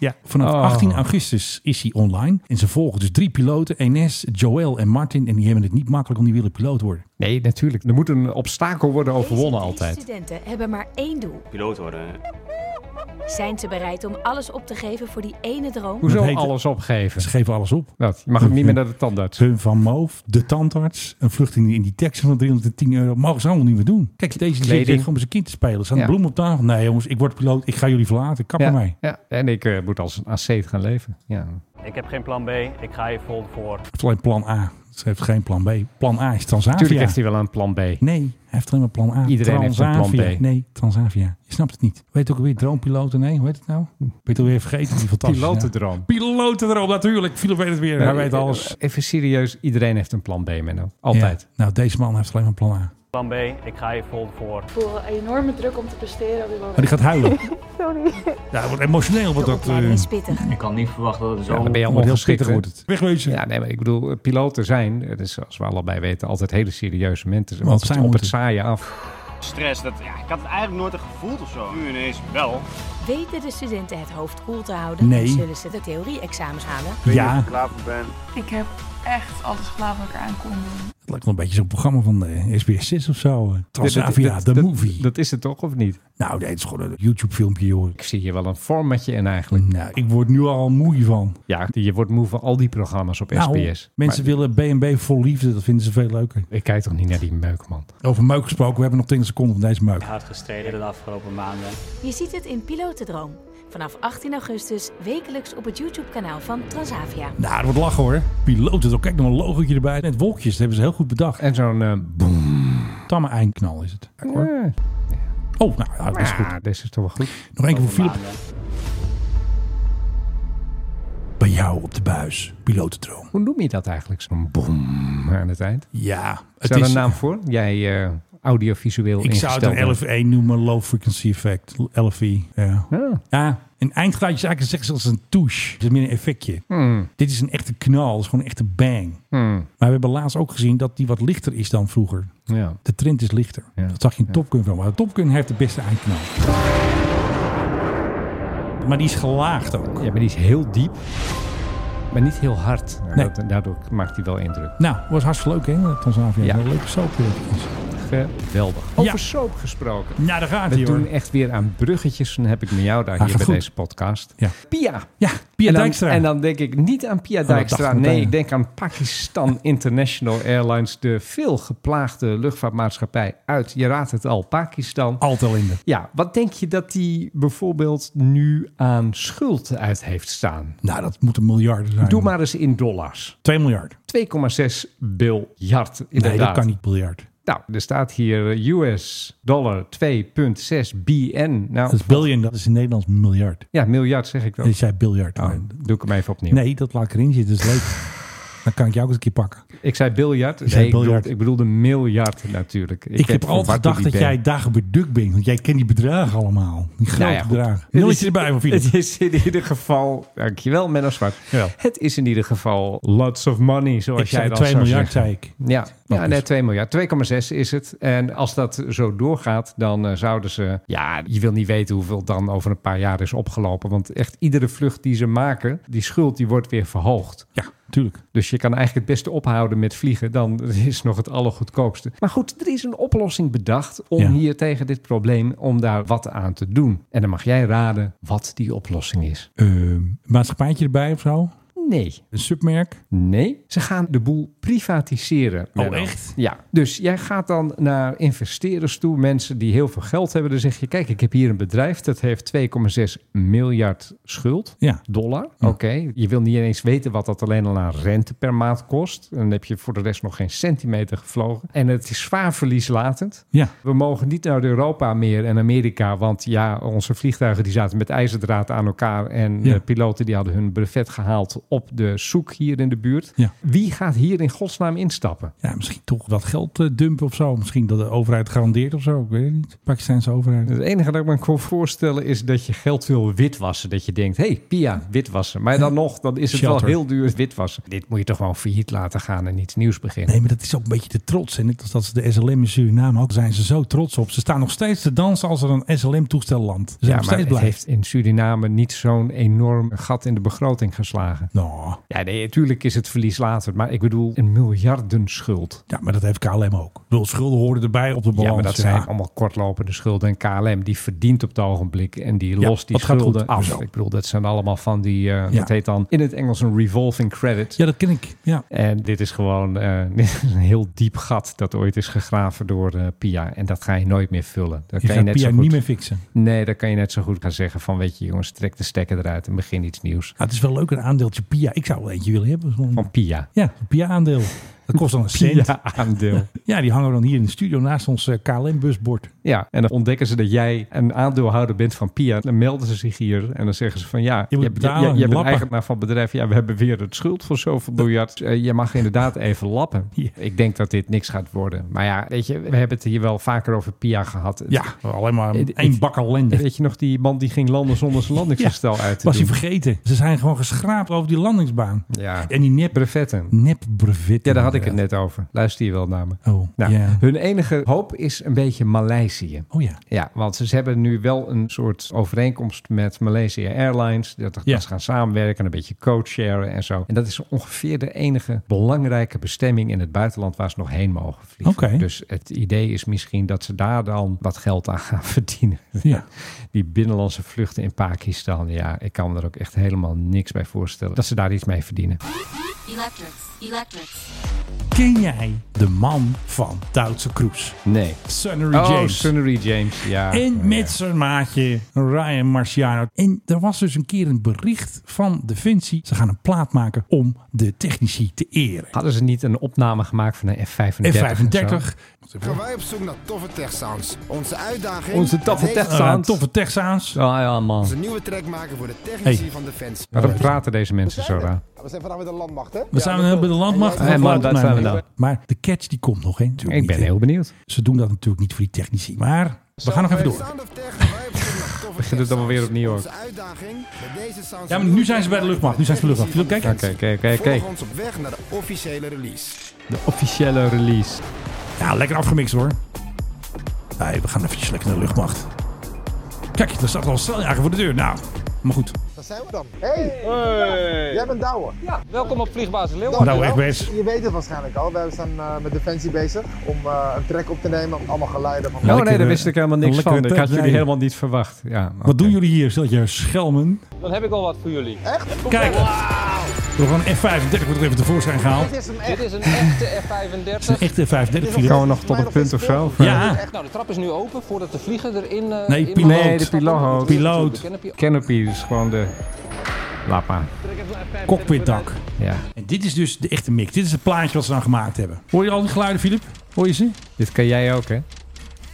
[SPEAKER 4] Ja, vanaf
[SPEAKER 3] Oh.
[SPEAKER 4] 18 augustus is hij online. En ze volgen dus drie piloten, Enes, Joël en Martin. En die hebben het niet makkelijk, om die willen piloot worden.
[SPEAKER 3] nee, natuurlijk. Er moet een obstakel worden overwonnen
[SPEAKER 1] Deze drie
[SPEAKER 3] altijd.
[SPEAKER 1] studenten hebben maar één doel.
[SPEAKER 10] piloot worden.
[SPEAKER 1] Zijn ze bereid om alles op te geven voor die ene droom?
[SPEAKER 3] Hoezo
[SPEAKER 4] Dat heet-
[SPEAKER 3] alles opgeven?
[SPEAKER 4] Ze geven alles op.
[SPEAKER 3] Wat? Je mag ook niet meer naar de tandarts.
[SPEAKER 4] Hun van Moof, de tandarts, een vlucht in, in die tekst van 310 euro. Mogen ze allemaal niet meer doen. Kijk, deze zit
[SPEAKER 3] Kleding.
[SPEAKER 4] hier gewoon met zijn kind te spelen. Er staan
[SPEAKER 3] Ja.
[SPEAKER 4] bloemen op tafel. Nee jongens, ik word piloot. Ik ga jullie verlaten. Kap
[SPEAKER 3] Ja,
[SPEAKER 4] ermee.
[SPEAKER 3] ja. En ik eh, moet als een asceet gaan leven. Ja.
[SPEAKER 10] Ik heb geen plan B, ik ga hier vol voor.
[SPEAKER 4] Het is alleen plan A. Ze heeft geen plan B. Plan A is Transavia.
[SPEAKER 3] Natuurlijk heeft hij wel een plan B.
[SPEAKER 4] Nee, hij heeft alleen maar plan A.
[SPEAKER 3] Iedereen heeft een plan
[SPEAKER 4] Transavia.
[SPEAKER 3] B.
[SPEAKER 4] Nee, Transavia. Je snapt het niet. Weet ook alweer, droompiloten. Nee, hoe heet het nou? Ik weet het alweer vergeten. Die fantastische naam.
[SPEAKER 3] Pilotendroom.
[SPEAKER 4] Piloten erop, natuurlijk. Philip weet het weer. hij weet alles.
[SPEAKER 3] Eh, Even serieus, iedereen heeft een plan B, Menno. Altijd.
[SPEAKER 4] Ja. Nou, deze man heeft alleen maar plan A.
[SPEAKER 10] Plan B, ik ga hier vol voor.
[SPEAKER 9] Voor enorme druk om te presteren op dit moment.
[SPEAKER 4] Maar die gaat huilen. Sorry. Ja, het wordt emotioneel. Wordt dat,
[SPEAKER 1] Opleiding
[SPEAKER 4] eh,
[SPEAKER 1] is pittig.
[SPEAKER 10] Ik kan niet verwachten dat het zo...
[SPEAKER 3] Ja, dan ben je allemaal
[SPEAKER 4] Wordt heel
[SPEAKER 3] geschikt,
[SPEAKER 4] pittig
[SPEAKER 3] hè?
[SPEAKER 4] wordt het. Wegwezen.
[SPEAKER 3] Ja, nee, maar ik bedoel, piloten zijn, eh, dus zoals we allebei weten, altijd hele serieuze mensen.
[SPEAKER 4] Want
[SPEAKER 3] Want het
[SPEAKER 4] zij
[SPEAKER 3] op het
[SPEAKER 4] moeten-
[SPEAKER 3] saaie af.
[SPEAKER 10] Stress, dat, ja, ik had het eigenlijk nooit echt gevoeld of zo. Nu ineens wel.
[SPEAKER 1] Weten de studenten het hoofd koel te houden?
[SPEAKER 4] Nee.
[SPEAKER 1] Zullen ze de theorie-examens halen?
[SPEAKER 4] Ja,
[SPEAKER 9] Ik heb echt alles gedaan wat ik eraan kon doen.
[SPEAKER 4] het lijkt wel een beetje zo'n programma van eh, SBS6 of zo. eh. Transavia,
[SPEAKER 3] Dat-
[SPEAKER 4] de
[SPEAKER 3] dat-
[SPEAKER 4] movie.
[SPEAKER 3] Dat is het toch, of niet?
[SPEAKER 4] Nou, nee, het is gewoon een YouTube filmpje, joh.
[SPEAKER 3] Ik zie hier wel een formatje in eigenlijk.
[SPEAKER 4] Nou, ik word nu al moe van.
[SPEAKER 3] Ja, je wordt moe van al die programma's op
[SPEAKER 4] Nou,
[SPEAKER 3] SBS.
[SPEAKER 4] mensen willen B&B vol liefde. Dat vinden ze veel leuker.
[SPEAKER 3] Ik kijk toch niet naar die meuk, man.
[SPEAKER 4] Over meuk gesproken. We hebben nog 10 seconden van deze meuk.
[SPEAKER 10] Hard gestreden de afgelopen maanden.
[SPEAKER 1] Je ziet het in Pilotendroom.
[SPEAKER 11] Vanaf 18 augustus wekelijks op het YouTube-kanaal van Transavia.
[SPEAKER 4] Nou, dat wordt lachen hoor. Piloten, toch? Kijk, nog een logootje erbij. Met wolkjes, dat hebben ze heel goed bedacht.
[SPEAKER 3] En zo'n eh, boem.
[SPEAKER 4] Tamme eindknal is het. Kijk, hoor. Oh, nou, ja, dat is goed.
[SPEAKER 3] Ja, deze is toch wel goed.
[SPEAKER 4] Nog één keer voor Philip. Bij jou op de buis, pilotentroon.
[SPEAKER 3] Hoe noem je dat eigenlijk? Zo'n boem aan het eind.
[SPEAKER 4] Ja.
[SPEAKER 3] Is
[SPEAKER 4] het
[SPEAKER 3] daar
[SPEAKER 4] is-
[SPEAKER 3] een naam voor? Jij eh audiovisueel
[SPEAKER 4] Ik zou het
[SPEAKER 3] ingestelde.
[SPEAKER 4] een LFE noemen, low frequency effect. LFE, ja. Ja. een eindgeluidje is eigenlijk zeggen ze als een touche. Het is meer een effectje.
[SPEAKER 3] Hmm.
[SPEAKER 4] Dit is een echte knal, het is gewoon een echte bang.
[SPEAKER 3] Hmm.
[SPEAKER 4] Maar we hebben laatst ook gezien dat die wat lichter is dan vroeger.
[SPEAKER 3] Ja.
[SPEAKER 4] De trend is lichter. Dat zag je in Top Gun van. Maar Top Gun heeft de beste eindknal. Maar die is gelaagd ook.
[SPEAKER 3] Ja, maar die is heel diep. Maar niet heel hard.
[SPEAKER 4] Nee.
[SPEAKER 3] Dat- daardoor maakt hij wel indruk.
[SPEAKER 4] Nou, was hartstikke leuk hè, Tanzania.
[SPEAKER 3] Ja.
[SPEAKER 4] Ja. Een leuke soap.
[SPEAKER 3] Geweldig. Over soap gesproken.
[SPEAKER 4] Nou, daar gaat
[SPEAKER 3] We
[SPEAKER 4] hij hoor.
[SPEAKER 3] doen echt weer aan bruggetjes. Dan heb ik met jou daar
[SPEAKER 4] Ah,
[SPEAKER 3] hier
[SPEAKER 4] gaat
[SPEAKER 3] bij
[SPEAKER 4] goed.
[SPEAKER 3] deze podcast.
[SPEAKER 4] Ja.
[SPEAKER 3] Pia.
[SPEAKER 4] Ja, Pia
[SPEAKER 3] en dan,
[SPEAKER 4] Dijkstra. Oh,
[SPEAKER 3] En dan denk ik niet aan Pia
[SPEAKER 4] dat
[SPEAKER 3] Dijkstra.
[SPEAKER 4] dacht ik
[SPEAKER 3] nee,
[SPEAKER 4] meteen.
[SPEAKER 3] ik denk aan Pakistan International Airlines. De veel geplaagde luchtvaartmaatschappij uit, je raadt het al, Pakistan.
[SPEAKER 4] Altijd in de.
[SPEAKER 3] Ja, wat denk je dat die bijvoorbeeld nu aan schuld uit heeft staan?
[SPEAKER 4] Nou, dat moeten miljarden zijn.
[SPEAKER 3] Doe maar eens in dollars.
[SPEAKER 4] 2 miljard.
[SPEAKER 3] 2,6 biljard, inderdaad.
[SPEAKER 4] Nee, dat kan niet miljard.
[SPEAKER 3] Nou, er staat hier eh, US dollar 2,6 BN. Nou,
[SPEAKER 4] Dat is billion, dat is in Nederlands miljard.
[SPEAKER 3] ja, miljard zeg ik wel.
[SPEAKER 4] Je zei biljard.
[SPEAKER 3] Nou,
[SPEAKER 4] maar-
[SPEAKER 3] doe ik hem even opnieuw.
[SPEAKER 4] Nee, dat laat ik erin zitten. Dat is leuk. Dan kan ik jou ook eens een keer pakken.
[SPEAKER 3] Ik zei biljard.
[SPEAKER 4] Je zei
[SPEAKER 3] Nee, ik
[SPEAKER 4] biljart.
[SPEAKER 3] bedoel- Ik bedoelde miljard natuurlijk.
[SPEAKER 4] Ik, heb altijd gedacht dat jij dagenbeduk bent. Want jij kent die bedragen allemaal.
[SPEAKER 3] Nou
[SPEAKER 4] Die grote bedragen. Nulletje erbij van Philip.
[SPEAKER 3] Het is in ieder geval... Dankjewel, Menno Zwart.
[SPEAKER 4] Jawel.
[SPEAKER 3] Het is in ieder geval lots of money, zoals
[SPEAKER 4] Ik
[SPEAKER 3] jij
[SPEAKER 4] zei
[SPEAKER 3] dan
[SPEAKER 4] 2
[SPEAKER 3] zou
[SPEAKER 4] miljard,
[SPEAKER 3] zeggen.
[SPEAKER 4] zei ik.
[SPEAKER 3] Ja, ja
[SPEAKER 4] dus.
[SPEAKER 3] nee, 2 miljard. 2,6 is het. En als dat zo doorgaat, dan eh, zouden ze... Ja, je wil niet weten hoeveel dan over een paar jaar is opgelopen. Want echt iedere vlucht die ze maken, die schuld die wordt weer verhoogd.
[SPEAKER 4] Ja, tuurlijk.
[SPEAKER 3] Dus je kan eigenlijk het beste ophouden met vliegen. Dan is nog het allergoedkoopste. Maar goed, er is een oplossing bedacht om
[SPEAKER 4] Ja.
[SPEAKER 3] hier tegen dit probleem... om daar wat aan te doen. En dan mag jij raden wat die oplossing is.
[SPEAKER 4] Ehm, maatschappijtje erbij of zo.
[SPEAKER 3] Nee.
[SPEAKER 4] Een submerk.
[SPEAKER 3] Nee, ze gaan de boel privatiseren. Menno.
[SPEAKER 4] Oh, echt?
[SPEAKER 3] Ja. Dus jij gaat dan naar investeerders toe, mensen die heel veel geld hebben. Dan zeg je, kijk, ik heb hier een bedrijf dat heeft 2,6 miljard schuld.
[SPEAKER 4] Ja.
[SPEAKER 3] Dollar. Oké, je wil niet eens weten wat dat alleen al aan rente per maand kost. En dan heb je voor de rest nog geen centimeter gevlogen. En het is zwaar verlieslatend.
[SPEAKER 4] Ja.
[SPEAKER 3] We mogen niet naar Europa meer en Amerika, want ja, onze vliegtuigen die zaten met ijzerdraad aan elkaar en
[SPEAKER 4] Ja.
[SPEAKER 3] de piloten die hadden hun brevet gehaald op de zoek hier in de buurt.
[SPEAKER 4] Ja.
[SPEAKER 3] Wie gaat hier in godsnaam instappen?
[SPEAKER 4] ja, misschien toch wat geld eh, dumpen of zo. Misschien dat de overheid garandeert of zo. Ik weet het niet. Pakistanse overheid.
[SPEAKER 3] Het enige dat ik me kan voorstellen is dat je geld wil witwassen. Dat je denkt, hé, hey, Pia, witwassen. Maar dan nog, dan is het
[SPEAKER 4] Shelter.
[SPEAKER 3] wel heel duur witwassen. Dit moet je toch gewoon failliet laten gaan en iets nieuws beginnen.
[SPEAKER 4] Nee, maar dat is ook een beetje de trots. En net als dat ze de SLM in Suriname ook zijn ze zo trots op. Ze staan nog steeds te dansen als er een SLM-toestel landt. Ze zijn nog steeds
[SPEAKER 3] het
[SPEAKER 4] blij.
[SPEAKER 3] heeft in Suriname niet zo'n enorm gat in de begroting geslagen.
[SPEAKER 4] Nou,
[SPEAKER 3] Ja, nee, natuurlijk is het verlies later. Maar ik bedoel, een miljardenschuld.
[SPEAKER 4] ja, maar dat heeft KLM ook. Ik bedoel, schulden hoorden erbij op de balans.
[SPEAKER 3] Ja, maar dat zijn allemaal kortlopende schulden. En KLM, die verdient op het ogenblik en die
[SPEAKER 4] Ja,
[SPEAKER 3] lost die
[SPEAKER 4] dat gaat
[SPEAKER 3] schulden
[SPEAKER 4] goed.
[SPEAKER 3] af.
[SPEAKER 4] Zo.
[SPEAKER 3] Ik bedoel, dat zijn allemaal van die, eh,
[SPEAKER 4] Ja.
[SPEAKER 3] dat heet dan in het Engels een revolving credit.
[SPEAKER 4] Ja, dat ken ik. Ja.
[SPEAKER 3] En dit is gewoon eh, een heel diep gat dat ooit is gegraven door eh, Pia. En dat ga je nooit meer vullen. Dat kan
[SPEAKER 4] Je
[SPEAKER 3] je
[SPEAKER 4] gaat
[SPEAKER 3] net
[SPEAKER 4] Pia
[SPEAKER 3] zo goed,
[SPEAKER 4] niet meer fixen.
[SPEAKER 3] Nee, dan kan je net zo goed gaan zeggen van... weet je jongens, trek de stekker eruit en begin iets nieuws.
[SPEAKER 4] Ah, het is wel leuk, een aandeeltje Pia. Ik zou wel eentje willen hebben. Zo'n-
[SPEAKER 3] Van Pia.
[SPEAKER 4] Ja, een Pia-aandeel. Dat kost dan een cent.
[SPEAKER 3] Pia-aandeel.
[SPEAKER 4] Ja, die hangen we dan hier in de studio naast ons eh, KLM-busbord.
[SPEAKER 3] Ja, en dan ontdekken ze dat jij een aandeelhouder bent van Pia. Dan melden ze zich hier en dan zeggen ze van ja,
[SPEAKER 4] Je moet
[SPEAKER 3] jij-
[SPEAKER 4] betalen,
[SPEAKER 3] jij- jij bent
[SPEAKER 4] lappen.
[SPEAKER 3] eigenaar van het bedrijf. Ja, we hebben weer het schuld voor zoveel miljard. Eh, je mag inderdaad even lappen.
[SPEAKER 4] Ja.
[SPEAKER 3] Ik denk dat dit niks gaat worden. Maar ja, weet je, we hebben het hier wel vaker over Pia gehad. Het-
[SPEAKER 4] Ja, alleen maar
[SPEAKER 3] Het-
[SPEAKER 4] één
[SPEAKER 3] Eh, het-
[SPEAKER 4] bak ellende.
[SPEAKER 3] Weet je nog die man die ging landen zonder zijn landingsgestel uit te
[SPEAKER 4] Was hij
[SPEAKER 3] doen?
[SPEAKER 4] vergeten. Ze zijn gewoon geschraapt over die landingsbaan.
[SPEAKER 3] Ja,
[SPEAKER 4] En die nep,
[SPEAKER 3] brevetten.
[SPEAKER 4] nep brevet.
[SPEAKER 3] Ja, daar had ik het net over. Luister je wel naar me.
[SPEAKER 4] Oh,
[SPEAKER 3] Nou,
[SPEAKER 4] ja.
[SPEAKER 3] Hun enige hoop is een beetje Maleisië.
[SPEAKER 4] Oh ja.
[SPEAKER 3] Ja, want ze hebben nu wel een soort overeenkomst met Malaysia Airlines. Dat, dat
[SPEAKER 4] Ja.
[SPEAKER 3] ze gaan samenwerken, een beetje co-sharen en zo. En dat is ongeveer de enige belangrijke bestemming in het buitenland waar ze nog heen mogen vliegen.
[SPEAKER 4] Oké.
[SPEAKER 3] Dus het idee is misschien dat ze daar dan wat geld aan gaan verdienen.
[SPEAKER 4] Ja.
[SPEAKER 3] Die binnenlandse vluchten in Pakistan, ja, ik kan me er ook echt helemaal niks bij voorstellen. Dat ze daar iets mee verdienen.
[SPEAKER 12] Electrics. Electrics.
[SPEAKER 4] Ken jij de man van Duitse Kroes?
[SPEAKER 3] Nee.
[SPEAKER 4] Sunnery
[SPEAKER 3] oh,
[SPEAKER 4] James.
[SPEAKER 3] Sunnery James, ja.
[SPEAKER 4] En met zijn maatje Ryan Marciano. En er was dus een keer een bericht van Defensie. Ze gaan een plaat maken om de technici te eren.
[SPEAKER 3] Hadden ze niet een opname gemaakt van een F-35? Ah, en
[SPEAKER 4] F-35.
[SPEAKER 3] zo?
[SPEAKER 4] Eh,
[SPEAKER 13] Gaan wij op zoek naar toffe tech sounds. Onze uitdaging...
[SPEAKER 3] Onze toffe
[SPEAKER 13] Deze-
[SPEAKER 3] tech sounds.
[SPEAKER 4] toffe tech sounds.
[SPEAKER 3] Ja, Oh, ja, man.
[SPEAKER 13] Onze nieuwe track maken voor de technici
[SPEAKER 3] Hey.
[SPEAKER 13] van Defensie.
[SPEAKER 3] Waarom Nou, praten deze mensen zo raar?
[SPEAKER 13] We zijn vandaag met de landmacht, hè?
[SPEAKER 4] We zijn bij de landmacht.
[SPEAKER 3] En jij-
[SPEAKER 4] Dat
[SPEAKER 3] man,
[SPEAKER 4] laat
[SPEAKER 3] dat
[SPEAKER 4] mij
[SPEAKER 3] zijn we
[SPEAKER 4] niet.
[SPEAKER 3] dan.
[SPEAKER 4] Maar de catch die komt nog, hè? natuurlijk
[SPEAKER 3] Ik ben
[SPEAKER 4] niet, hè.
[SPEAKER 3] heel benieuwd.
[SPEAKER 4] Ze doen dat natuurlijk niet voor die technici. Maar we gaan nog even door.
[SPEAKER 3] We beginnen het dan weer opnieuw hoor.
[SPEAKER 4] Ja, maar nu zijn ze bij de luchtmacht. Nu zijn ze bij de luchtmacht. Kijk,
[SPEAKER 3] Oké, oké, oké, oké.
[SPEAKER 13] Volg ons op weg naar de officiële release.
[SPEAKER 3] De officiële release.
[SPEAKER 4] Ja, lekker afgemixt hoor. Nee, we gaan eventjes lekker naar de luchtmacht. Kijk, daar staat al een straaljager voor de deur. Nou, maar goed.
[SPEAKER 13] Daar zijn we dan. Hey! Jij bent Douwe. Ja.
[SPEAKER 14] Welkom op Vliegbasis Leeuwen.
[SPEAKER 13] Nou,
[SPEAKER 4] Nou, echt
[SPEAKER 13] wel.
[SPEAKER 4] best.
[SPEAKER 13] Je weet het waarschijnlijk al. We zijn eh, met Defensie bezig om eh, een track op te nemen. Met allemaal geluiden van...
[SPEAKER 3] Oh nee, daar wist ik helemaal niks
[SPEAKER 4] lekkere
[SPEAKER 3] van. Ik had jullie
[SPEAKER 4] tijdlijn.
[SPEAKER 3] helemaal niet verwacht. Ja, nou.
[SPEAKER 4] Wat doen jullie hier? Stel je schelmen.
[SPEAKER 14] Dan heb ik al wat voor jullie. Echt?
[SPEAKER 4] Kijk. We gaan een F35 wordt er even tevoorschijn gehaald.
[SPEAKER 14] Dit is, een echte
[SPEAKER 4] Het is
[SPEAKER 14] F35.
[SPEAKER 4] een echte F35
[SPEAKER 14] Dit is
[SPEAKER 4] Gewoon
[SPEAKER 3] nog tot een punt of zo?
[SPEAKER 4] Ja.
[SPEAKER 14] Nou, de trap is nu open voordat de vlieger erin... eh,
[SPEAKER 3] Nee,
[SPEAKER 14] in-
[SPEAKER 3] piloot. Nee, de piloot.
[SPEAKER 14] Piloot.
[SPEAKER 3] Canopy is gewoon de... Laat maar.
[SPEAKER 4] Cockpitdak.
[SPEAKER 3] Ja.
[SPEAKER 4] En dit is dus de echte mix. Dit is het plaatje wat ze dan gemaakt hebben. Hoor je al die geluiden, Filip? Hoor je ze?
[SPEAKER 3] Dit kan jij ook, hè?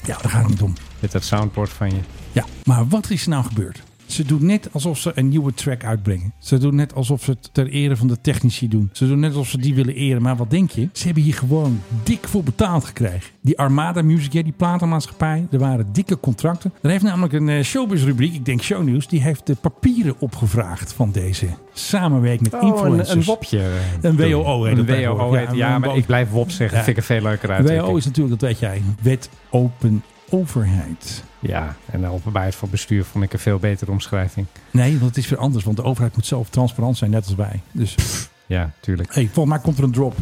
[SPEAKER 4] Ja, daar gaat het niet om.
[SPEAKER 3] Met dat soundboard van je.
[SPEAKER 4] Ja, maar wat is er nou gebeurd? Ze doen net alsof ze een nieuwe track uitbrengen. Ze doen net alsof ze het ter ere van de technici doen. Ze doen net alsof ze die willen eren. Maar wat denk je? Ze hebben hier gewoon dik voor betaald gekregen. Die Armada Music, ja, die platenmaatschappij. Er waren dikke contracten. Er heeft namelijk een eh, showbiz-rubriek, ik denk shownieuws. Die heeft de papieren opgevraagd van deze samenwerking met
[SPEAKER 3] Oh,
[SPEAKER 4] influencers.
[SPEAKER 3] een, een wopje.
[SPEAKER 4] Een WOO heet
[SPEAKER 3] Een
[SPEAKER 4] het
[SPEAKER 3] WOO
[SPEAKER 4] tegenwoordig.
[SPEAKER 3] heet Ja, maar
[SPEAKER 4] een
[SPEAKER 3] ik blijf wop zeggen.
[SPEAKER 4] Ja.
[SPEAKER 3] Vind ik een veel leuker uit.
[SPEAKER 4] WO is natuurlijk, dat weet jij, wet open overheid.
[SPEAKER 3] Ja, en openbaarheid van bestuur vond ik een veel betere omschrijving.
[SPEAKER 4] Nee, want het is weer anders. Want de overheid moet zelf transparant zijn, net als wij. Dus
[SPEAKER 3] Ja, tuurlijk.
[SPEAKER 4] hey, volgens mij komt er een drop.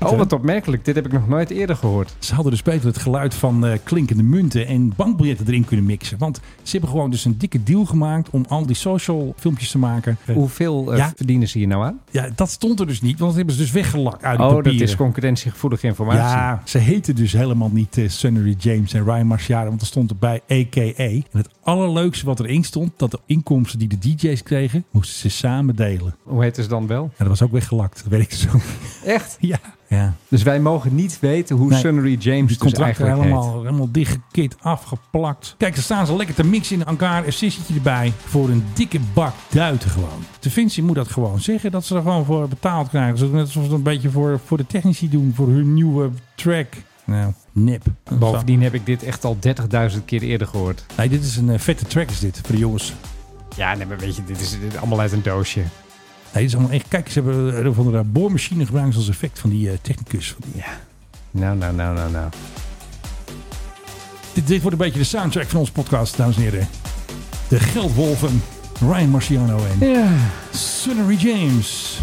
[SPEAKER 3] Oh, wat opmerkelijk. Dit heb ik nog nooit eerder gehoord.
[SPEAKER 4] Ze hadden dus beter het geluid van eh, klinkende munten en bankbiljetten erin kunnen mixen. Want ze hebben gewoon dus een dikke deal gemaakt om al die social filmpjes te maken.
[SPEAKER 3] Hoeveel eh,
[SPEAKER 4] Ja.
[SPEAKER 3] verdienen ze hier nou aan?
[SPEAKER 4] Ja, dat stond er dus niet, want dat hebben ze dus weggelakt uit de
[SPEAKER 3] Oh, dat
[SPEAKER 4] papieren.
[SPEAKER 3] is concurrentiegevoelige informatie.
[SPEAKER 4] Ja, ze heten dus helemaal niet eh, Sunnery James en Ryan Marciano, want er stond erbij a.k.a. En het allerleukste wat erin stond, dat de inkomsten die de DJ's kregen, moesten ze samen delen.
[SPEAKER 3] Hoe heet ze dan wel?
[SPEAKER 4] En dat was ook weggelakt, dat weet ik zo.
[SPEAKER 3] Echt?
[SPEAKER 4] Ja. ja.
[SPEAKER 3] Dus wij mogen niet weten hoe
[SPEAKER 4] Nee,
[SPEAKER 3] Sunnery James
[SPEAKER 4] Die
[SPEAKER 3] dus
[SPEAKER 4] contracten
[SPEAKER 3] eigenlijk
[SPEAKER 4] helemaal,
[SPEAKER 3] heet.
[SPEAKER 4] helemaal dichtgekit, afgeplakt. Kijk, daar staan ze lekker te mixen in de hangar. Een sissetje erbij. Voor een dikke bak duiten gewoon. De Vinci moet dat gewoon zeggen. Dat ze er gewoon voor betaald krijgen. Ze doen net alsof ze het een beetje voor, voor de technici doen. Voor hun nieuwe track. Nou, nip.
[SPEAKER 3] Bovendien heb ik dit echt al 30.000 keer eerder gehoord.
[SPEAKER 4] Nee, dit is een eh, vette track is dit. Voor de jongens.
[SPEAKER 3] Ja, nee, maar weet je, dit is dit is allemaal uit een doosje.
[SPEAKER 4] Nee, dit is allemaal echt... Kijk, ze hebben een of andere boormachine gebruikt als effect van die eh, technicus. Van die-
[SPEAKER 3] Nou, nou, nou, nou, nou.
[SPEAKER 4] Dit, dit wordt een beetje de soundtrack van onze podcast, dames en heren. De Geldwolven. Ryan Marciano en Sunnery James.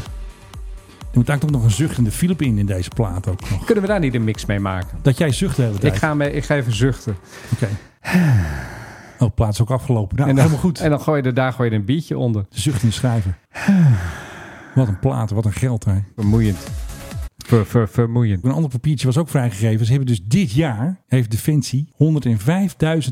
[SPEAKER 4] Er moet eigenlijk ook nog een zuchtende Philip in in deze plaat ook nog.
[SPEAKER 3] Kunnen we daar niet een mix mee maken?
[SPEAKER 4] Dat jij zucht de hele tijd.
[SPEAKER 3] Ik ga, me, ik ga even zuchten.
[SPEAKER 4] Oké. Oh, de plaat is ook afgelopen. Nou,
[SPEAKER 3] en dan,
[SPEAKER 4] helemaal goed.
[SPEAKER 3] En dan gooi je er, daar gooi je er een biertje onder.
[SPEAKER 4] Zuchtende schrijver. Wat een plaat, wat een geld hè.
[SPEAKER 3] Vermoeiend. Ver, ver, vermoeiend.
[SPEAKER 4] Een ander papiertje was ook vrijgegeven. Ze hebben dus dit jaar, heeft Defensie, 105.000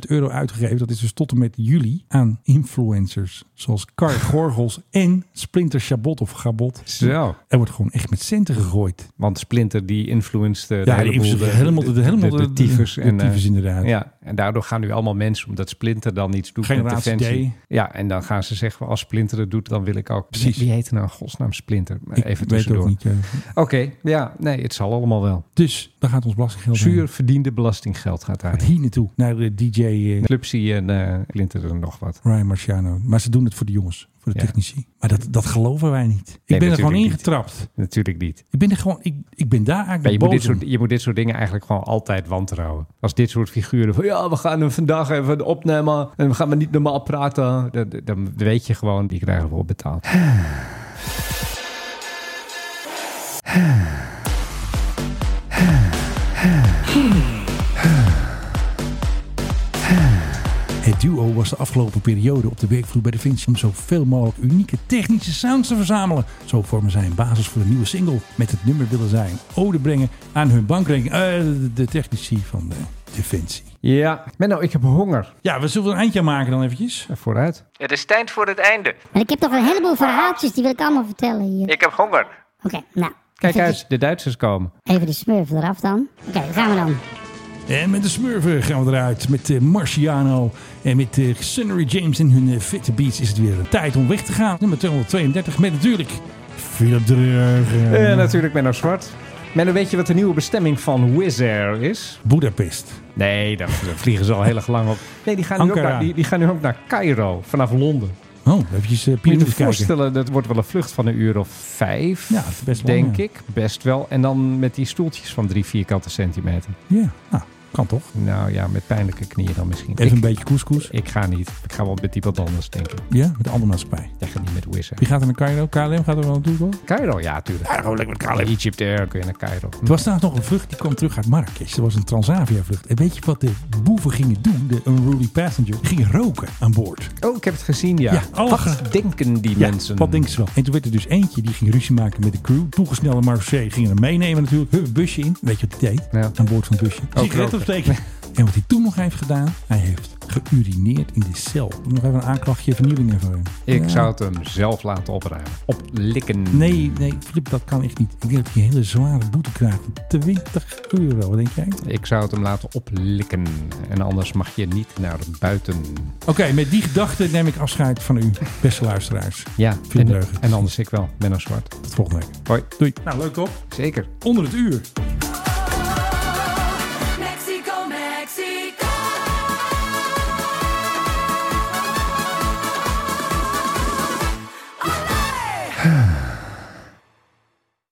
[SPEAKER 4] euro uitgegeven. Dat is dus tot en met juli aan influencers. Zoals Kar Gorgels en Splinter Chabot of Gabot.
[SPEAKER 3] Zo.
[SPEAKER 4] Er wordt gewoon echt met centen gegooid.
[SPEAKER 3] Want Splinter die influenced eh, de
[SPEAKER 4] Ja, die
[SPEAKER 3] heleboel,
[SPEAKER 4] influenced helemaal de- helemaal
[SPEAKER 3] de,
[SPEAKER 4] de-
[SPEAKER 3] de tyfus.
[SPEAKER 4] de
[SPEAKER 3] en, eh,
[SPEAKER 4] tyfus inderdaad.
[SPEAKER 3] Ja, en daardoor gaan nu allemaal mensen, omdat Splinter dan iets doet
[SPEAKER 4] Generatie
[SPEAKER 3] met Defensie.
[SPEAKER 4] D.
[SPEAKER 3] Ja, en dan gaan ze zeggen, als Splinter het doet, dan wil ik ook.
[SPEAKER 4] Precies.
[SPEAKER 3] Wie heet nou in godsnaam Splinter? Maar
[SPEAKER 4] Ik
[SPEAKER 3] Even
[SPEAKER 4] weet het
[SPEAKER 3] tussendoor.
[SPEAKER 4] ook niet. ja.
[SPEAKER 3] Oké, ja, nee, het zal allemaal wel.
[SPEAKER 4] Dus daar gaat ons belastinggeld heen.
[SPEAKER 3] Zuur verdiende belastinggeld gaat daar.
[SPEAKER 4] Hier naartoe, naar de DJ eh,
[SPEAKER 3] Clubsie en eh Splinter er nog wat.
[SPEAKER 4] Ryan Marciano. Maar ze doen het voor de jongens, voor de
[SPEAKER 3] Ja.
[SPEAKER 4] technici. Maar dat, dat geloven wij niet. Ik
[SPEAKER 3] Nee,
[SPEAKER 4] ben er
[SPEAKER 3] natuurlijk
[SPEAKER 4] gewoon
[SPEAKER 3] niet.
[SPEAKER 4] ingetrapt.
[SPEAKER 3] Natuurlijk niet.
[SPEAKER 4] Ik ben er gewoon, ik, ik ben daar
[SPEAKER 3] Maar je,
[SPEAKER 4] eigenlijk
[SPEAKER 3] moet
[SPEAKER 4] boos
[SPEAKER 3] dit
[SPEAKER 4] om.
[SPEAKER 3] soort, je moet dit soort dingen eigenlijk gewoon altijd wantrouwen. Als dit soort figuren van ja, we gaan hem vandaag even opnemen en we gaan maar niet normaal praten. Dan, dan weet je gewoon, die krijgen wel betaald.
[SPEAKER 4] Het duo was de afgelopen periode op de werkvloer bij Da Vinci om zoveel mogelijk unieke technische sounds te verzamelen. Zo vormen zij een basis voor een nieuwe single. Met het nummer willen zij een ode brengen aan hun bankrekening. eh, de technici van eh, de Da Vinci.
[SPEAKER 3] Ja, Menno, ik heb honger.
[SPEAKER 4] Ja, we zullen een eindje maken dan eventjes.
[SPEAKER 3] Vooruit.
[SPEAKER 15] Het is tijd voor het einde.
[SPEAKER 16] Maar ik heb toch een heleboel verhaaltjes, die wil ik allemaal vertellen hier.
[SPEAKER 15] Ik heb honger.
[SPEAKER 16] Oké, nou.
[SPEAKER 3] Kijk uit, de Duitsers komen.
[SPEAKER 16] Even de smurf eraf dan. Oké, gaan we dan.
[SPEAKER 4] En met de Smurfen gaan we eruit. Met eh, Marciano en met eh Sunnery James en hun eh, fitte beats is het weer een tijd om weg te gaan. Nummer 232 met natuurlijk Philip Dreugen.
[SPEAKER 3] Eh, natuurlijk Menno Zwart. Menno, weet je wat de nieuwe bestemming van Wizz Air is?
[SPEAKER 4] Budapest.
[SPEAKER 3] Nee, daar daar vliegen ze al heel erg lang op. Nee, die gaan, nu ook
[SPEAKER 4] Ankara.
[SPEAKER 3] naar, die, die gaan nu ook naar Cairo vanaf Londen.
[SPEAKER 4] Oh, eventjes eh
[SPEAKER 3] Moet je
[SPEAKER 4] piramide
[SPEAKER 3] je
[SPEAKER 4] kijken.
[SPEAKER 3] voorstellen, dat wordt wel een vlucht van een uur of vijf,
[SPEAKER 4] Ja, best lang,
[SPEAKER 3] denk
[SPEAKER 4] ja.
[SPEAKER 3] ik. Best wel. En dan met die stoeltjes van drie vierkante centimeter.
[SPEAKER 4] Ja, nou, kan toch?
[SPEAKER 3] Nou ja, met pijnlijke knieën dan misschien.
[SPEAKER 4] Even
[SPEAKER 3] Ik-
[SPEAKER 4] een beetje couscous.
[SPEAKER 3] Ik ga niet. Ik ga wel met iemand anders, denk ik.
[SPEAKER 4] Ja, met de andere maatschappij.
[SPEAKER 3] Ik ga niet met Wizz Air.
[SPEAKER 4] Wie gaat er naar Cairo? KLM gaat er wel naartoe, toch?
[SPEAKER 3] Cairo, ja, tuurlijk. Ja,
[SPEAKER 4] gewoon lekker met KLM.
[SPEAKER 3] Egypt Air kun je naar Cairo.
[SPEAKER 4] Er was trouwens nog een vlucht die kwam terug uit Marrakesh. Dat was een Transavia vlucht. En weet je wat de boeven gingen doen? De unruly passenger gingen roken aan boord.
[SPEAKER 3] Oh, ik heb het gezien, ja.
[SPEAKER 4] Ja, alle ge-
[SPEAKER 3] wat denken die
[SPEAKER 4] Ja,
[SPEAKER 3] mensen?
[SPEAKER 4] Wat denken ze wel? En toen werd er dus eentje die ging ruzie maken met de crew. Toegesnelde Marseille gingen hem meenemen natuurlijk. Hup, busje in. Weet je wat hij deed? Aan boord van het busje.
[SPEAKER 3] Ook
[SPEAKER 4] Sigaret
[SPEAKER 3] roken.
[SPEAKER 4] opsteken. En wat hij toen nog heeft gedaan, hij heeft geurineerd in de cel. Nog even een aanklachtje vernielingen voor hem.
[SPEAKER 3] Ik
[SPEAKER 4] Ja.
[SPEAKER 3] zou het hem zelf laten opruimen. Oplikken.
[SPEAKER 4] Nee, nee, Filip, dat kan echt niet. Ik denk dat je een hele zware boete krijgt. 20 euro, wat denk jij? Oké,
[SPEAKER 3] Ik zou het hem laten oplikken. En anders mag je niet naar buiten.
[SPEAKER 4] met die gedachte neem ik afscheid van u, beste luisteraars.
[SPEAKER 3] Ja,
[SPEAKER 4] Filip
[SPEAKER 3] en,
[SPEAKER 4] Dreugen.
[SPEAKER 3] en anders ik wel. Menno Zwart.
[SPEAKER 4] Tot volgende week.
[SPEAKER 3] Hoi.
[SPEAKER 4] Doei. Nou, leuk toch?
[SPEAKER 3] Zeker.
[SPEAKER 4] Onder het uur.